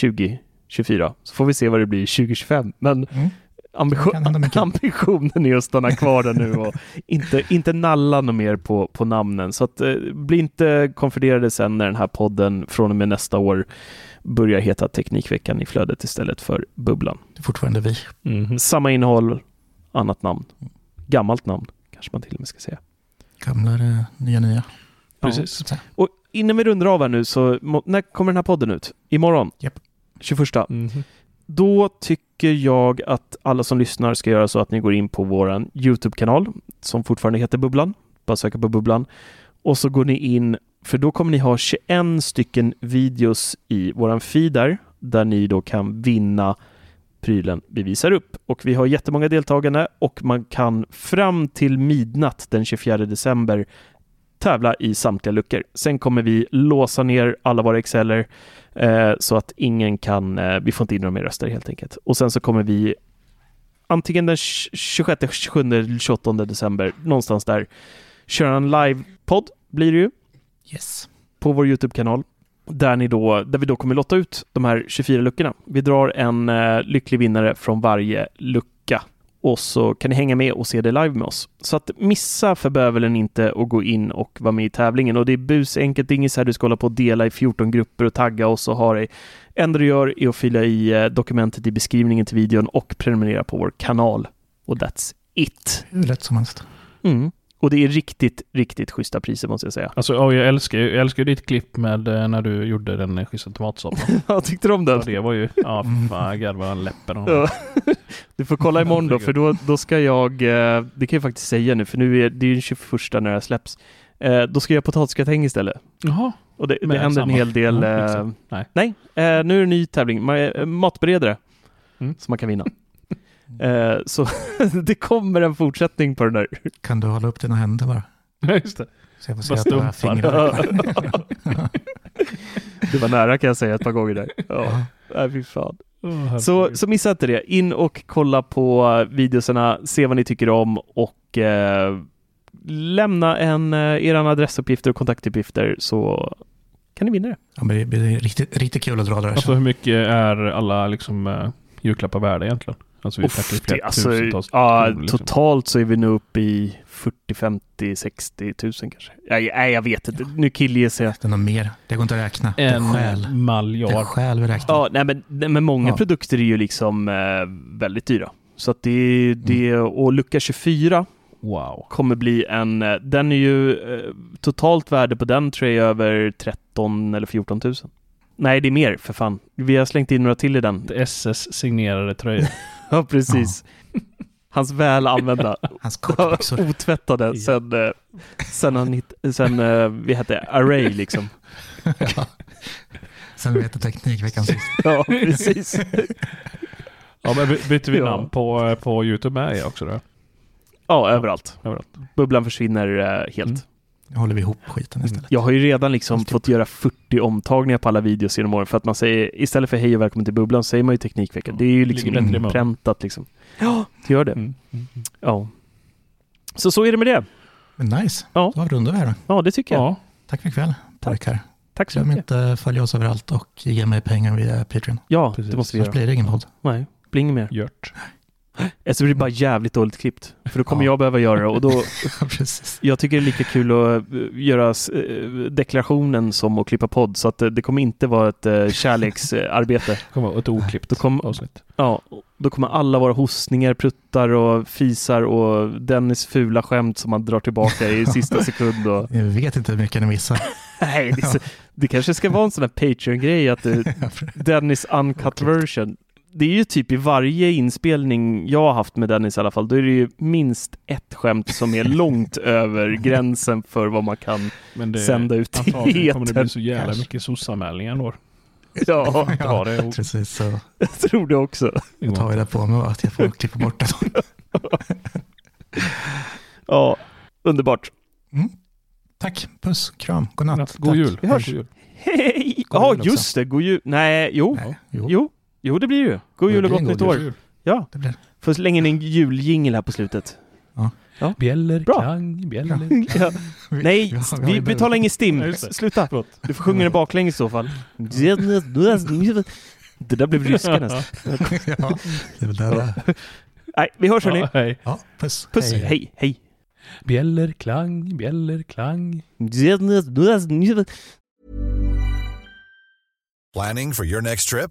Speaker 2: 2024. Så får vi se vad det blir 2025. Men
Speaker 1: Mm.
Speaker 2: ambition,
Speaker 1: Det kan hända mycket.
Speaker 2: ambitionen är att stanna kvar där nu och inte, inte nalla något mer på, på namnen. Så att, eh, bli inte konfunderade sen när den här podden från och med nästa år börjar heta Teknikveckan i flödet istället för Bubblan.
Speaker 1: det är fortfarande vi.
Speaker 2: Samma innehåll, annat namn. Gammalt namn, kanske man till och med ska säga.
Speaker 1: Gamla är det nya nya.
Speaker 3: Precis.
Speaker 1: Så här.
Speaker 2: Och innan vi rundar av här nu, så må- när kommer den här podden ut? Imorgon?
Speaker 3: Mm.
Speaker 1: Japp.
Speaker 2: 21. Då tycker jag att alla som lyssnar ska göra så att ni går in på vår YouTube-kanal som fortfarande heter Bubblan. Bara söka på Bubblan. Och så går ni in, för då kommer ni ha 21 stycken videos i våran feed där, där ni då kan vinna prylen vi visar upp. Och vi har jättemånga deltagande och man kan fram till midnatt den 24 december tävla i samtliga luckor. Sen kommer vi låsa ner alla våra exceller eh, så att ingen kan, eh, vi får inte in några mer röster helt enkelt. Och sen så kommer vi antingen den 26, 27 eller 28 december, någonstans där, köra en livepodd blir det ju
Speaker 1: Yes.
Speaker 2: på vår YouTube-kanal där, ni då, där vi då kommer lotta ut de här 24 luckorna. Vi drar en eh, lycklig vinnare från varje lucka och så kan ni hänga med och se det live med oss. Så att missa för bövelen inte och gå in och vara med i tävlingen. Och det är busenkelt, det är inget så här du ska hålla på och dela i 14 grupper och tagga oss och ha dig. Enda du gör är att fylla i eh, dokumentet i beskrivningen till videon och prenumerera på vår kanal. Och that's it.
Speaker 1: Hur lätt som helst.
Speaker 2: Mm. Och det är riktigt, riktigt schyssta priser måste jag säga.
Speaker 3: Alltså, ja, jag älskar ju jag älskar ju ditt klipp med eh, när du gjorde den eh, schyssta tomatsoppan.
Speaker 2: Vad tyckte du om den?
Speaker 3: Ja, det var ju... Ja, fy fan, jag garvade han läppen. av honom.
Speaker 2: Ja. Du får kolla imorgon då, för då, då ska jag, eh, det kan jag faktiskt säga nu, för nu är det är ju den 21 när det här släpps. Eh, Då ska jag göra potatisgratäng istället.
Speaker 3: Jaha.
Speaker 2: Och det, det
Speaker 3: Med
Speaker 2: händer en
Speaker 3: samma.
Speaker 2: hel del.
Speaker 3: Ja,
Speaker 2: eh,
Speaker 3: exakt. Nej.
Speaker 2: nej, eh, nu är det en ny tävling. Ma- eh, Matberedare
Speaker 3: Mm.
Speaker 2: som man kan vinna. Eh, Så det kommer en fortsättning på den där.
Speaker 1: Kan du hålla upp dina händer bara?
Speaker 3: Ja, Just det.
Speaker 1: Så jag får se
Speaker 3: Bara
Speaker 1: att några
Speaker 3: stumpar.
Speaker 1: fingrar.
Speaker 2: Det var nära kan jag säga ett par gånger där. Ja, nej, fy fan.
Speaker 3: Åh,
Speaker 2: Så,
Speaker 3: herregud.
Speaker 2: så missa inte det. In och kolla på eh, videoserna, se vad ni tycker om och eh, lämna en, eh, era adressuppgifter och kontaktuppgifter så kan ni vinna det.
Speaker 1: Ja, men det blir riktigt, riktigt kul att dra det där
Speaker 3: Alltså
Speaker 1: sen.
Speaker 3: hur mycket är alla liksom eh, julklappar värda egentligen? Alltså vi
Speaker 2: Uff,
Speaker 3: snackar ju
Speaker 2: det-
Speaker 3: flera
Speaker 2: alltså,
Speaker 3: tusentals
Speaker 2: ja,
Speaker 3: kronor, liksom.
Speaker 2: Totalt så är vi nu uppe i 40, 50, 60 tusen kanske. Nej, nej jag vet inte. Nu killgissar jag.
Speaker 1: Det är nog mer. Det går inte att räkna. Det är
Speaker 3: En
Speaker 1: själ. Det är
Speaker 3: miljard.
Speaker 1: själ vi räknar.
Speaker 2: Ja, nej, men, nej, men många
Speaker 1: Ja.
Speaker 2: produkter är ju liksom eh, väldigt dyra. Så att det, det, och lucka 24
Speaker 3: Wow.
Speaker 2: kommer bli en, eh, den är ju, eh, totalt värde på den tror jag är över 13 eller 14 000. Nej, det är mer för fan. Vi har slängt in några till i den.
Speaker 3: SS signerade tröjor.
Speaker 2: Ja, precis. Hans väl använda,
Speaker 1: Hans kortbyxor.
Speaker 2: otvättade sen, eh, sen, han hit, sen eh, vi hette Array liksom.
Speaker 1: ja. Sen vi hette Teknikveckan sist.
Speaker 2: Ja, precis.
Speaker 3: ja men by- byter vi
Speaker 2: Ja.
Speaker 3: namn på, eh, på YouTube med er också då?
Speaker 2: Ja, överallt.
Speaker 3: Överallt.
Speaker 2: Bubblan försvinner eh, helt.
Speaker 3: Mm.
Speaker 1: Nu håller vi ihop skiten istället.
Speaker 2: Jag har ju redan liksom fått göra 40 omtagningar på alla videos genom åren för att man säger istället för hej och välkommen till bubblan så säger man ju Teknikveckan. Det är ju liksom
Speaker 3: Ligger bättre i mun.
Speaker 2: inpräntat liksom. Ja, det gör det.
Speaker 3: Mm. Mm.
Speaker 2: Ja. Så så är det med det.
Speaker 1: Men nice.
Speaker 2: Ja.
Speaker 1: Då avrundar vi här då.
Speaker 2: Ja, det tycker jag.
Speaker 3: Ja,
Speaker 1: Tack för ikväll, pojkar.
Speaker 2: Tack så
Speaker 1: Glöm
Speaker 2: mycket.
Speaker 1: inte att följa oss överallt och ge mig pengar via Patreon.
Speaker 2: Ja,
Speaker 3: Precis.
Speaker 2: det måste vi
Speaker 1: Annars
Speaker 2: göra.
Speaker 1: blir det ingen podd.
Speaker 2: Nej, blir inget mer.
Speaker 3: gjort.
Speaker 2: Eller så blir det bara jävligt dåligt klippt. För då kommer
Speaker 1: Ja.
Speaker 2: jag behöva göra det och då,
Speaker 1: Precis.
Speaker 2: jag tycker det är lika kul att eh, göra eh, deklarationen som att klippa podd så att eh, det kommer inte vara ett eh, kärleksarbete.
Speaker 3: Det kommer vara ett oklippt
Speaker 2: Då kom-
Speaker 3: avsnitt.
Speaker 2: Ja, då kommer alla våra hostningar, pruttar och fisar och Dennis fula skämt som man drar tillbaka i sista sekund. Och...
Speaker 1: Jag vet inte hur mycket ni missar.
Speaker 2: Nej, det, är så... det kanske ska vara en sån här Patreon-grej att eh, Dennis Uncut version. Det är ju typ i varje inspelning jag har haft med Dennis i alla fall, då är det ju minst ett skämt som är långt över gränsen för vad man kan.
Speaker 3: Men det,
Speaker 2: Sända ut i
Speaker 3: antagligen kommer det
Speaker 2: etern.
Speaker 3: bli så jävla
Speaker 1: Kanske.
Speaker 3: mycket sossanmälningar då.
Speaker 2: Ja,
Speaker 3: Ja, det är
Speaker 1: Precis, så
Speaker 2: jag tror det också.
Speaker 1: jag tar jag det på mig att jag får klippa bort det.
Speaker 2: Ja, underbart.
Speaker 1: Mm. Tack, puss, kram, godnatt.
Speaker 3: God
Speaker 1: Tack.
Speaker 3: jul.
Speaker 2: Vi hörs.
Speaker 3: God jul.
Speaker 2: Hej!
Speaker 1: God
Speaker 2: Ja,
Speaker 1: jul också.
Speaker 2: just det, god jul. Nej, jo,
Speaker 1: Nej, jo,
Speaker 2: jo, jo det blir ju. God
Speaker 1: Ja,
Speaker 2: jul och
Speaker 1: det
Speaker 2: gott
Speaker 1: blir en
Speaker 2: nytt
Speaker 1: god
Speaker 2: år.
Speaker 1: jul.
Speaker 2: Ja,
Speaker 1: det blir
Speaker 2: får slänga in en juljingel här på slutet.
Speaker 3: Bjäller,
Speaker 2: Bra.
Speaker 3: klang, bjäller.
Speaker 2: Ja. Nej,
Speaker 1: vi har- vi har
Speaker 2: vi
Speaker 1: ju
Speaker 2: betalar ingen
Speaker 3: Ja,
Speaker 2: STIM.
Speaker 3: just det.
Speaker 2: Sluta.
Speaker 3: Förlåt.
Speaker 2: Du får sjunga den baklänges i så fall. Det där blev ryska nästan.
Speaker 1: ja, det är väl där det är.
Speaker 2: Nej, vi hörs hörni.
Speaker 3: Ja, hej.
Speaker 1: Ja, puss.
Speaker 2: Puss, hej, hej.
Speaker 3: Bjäller, klang, bjäller, klang.
Speaker 4: Planning for your next trip?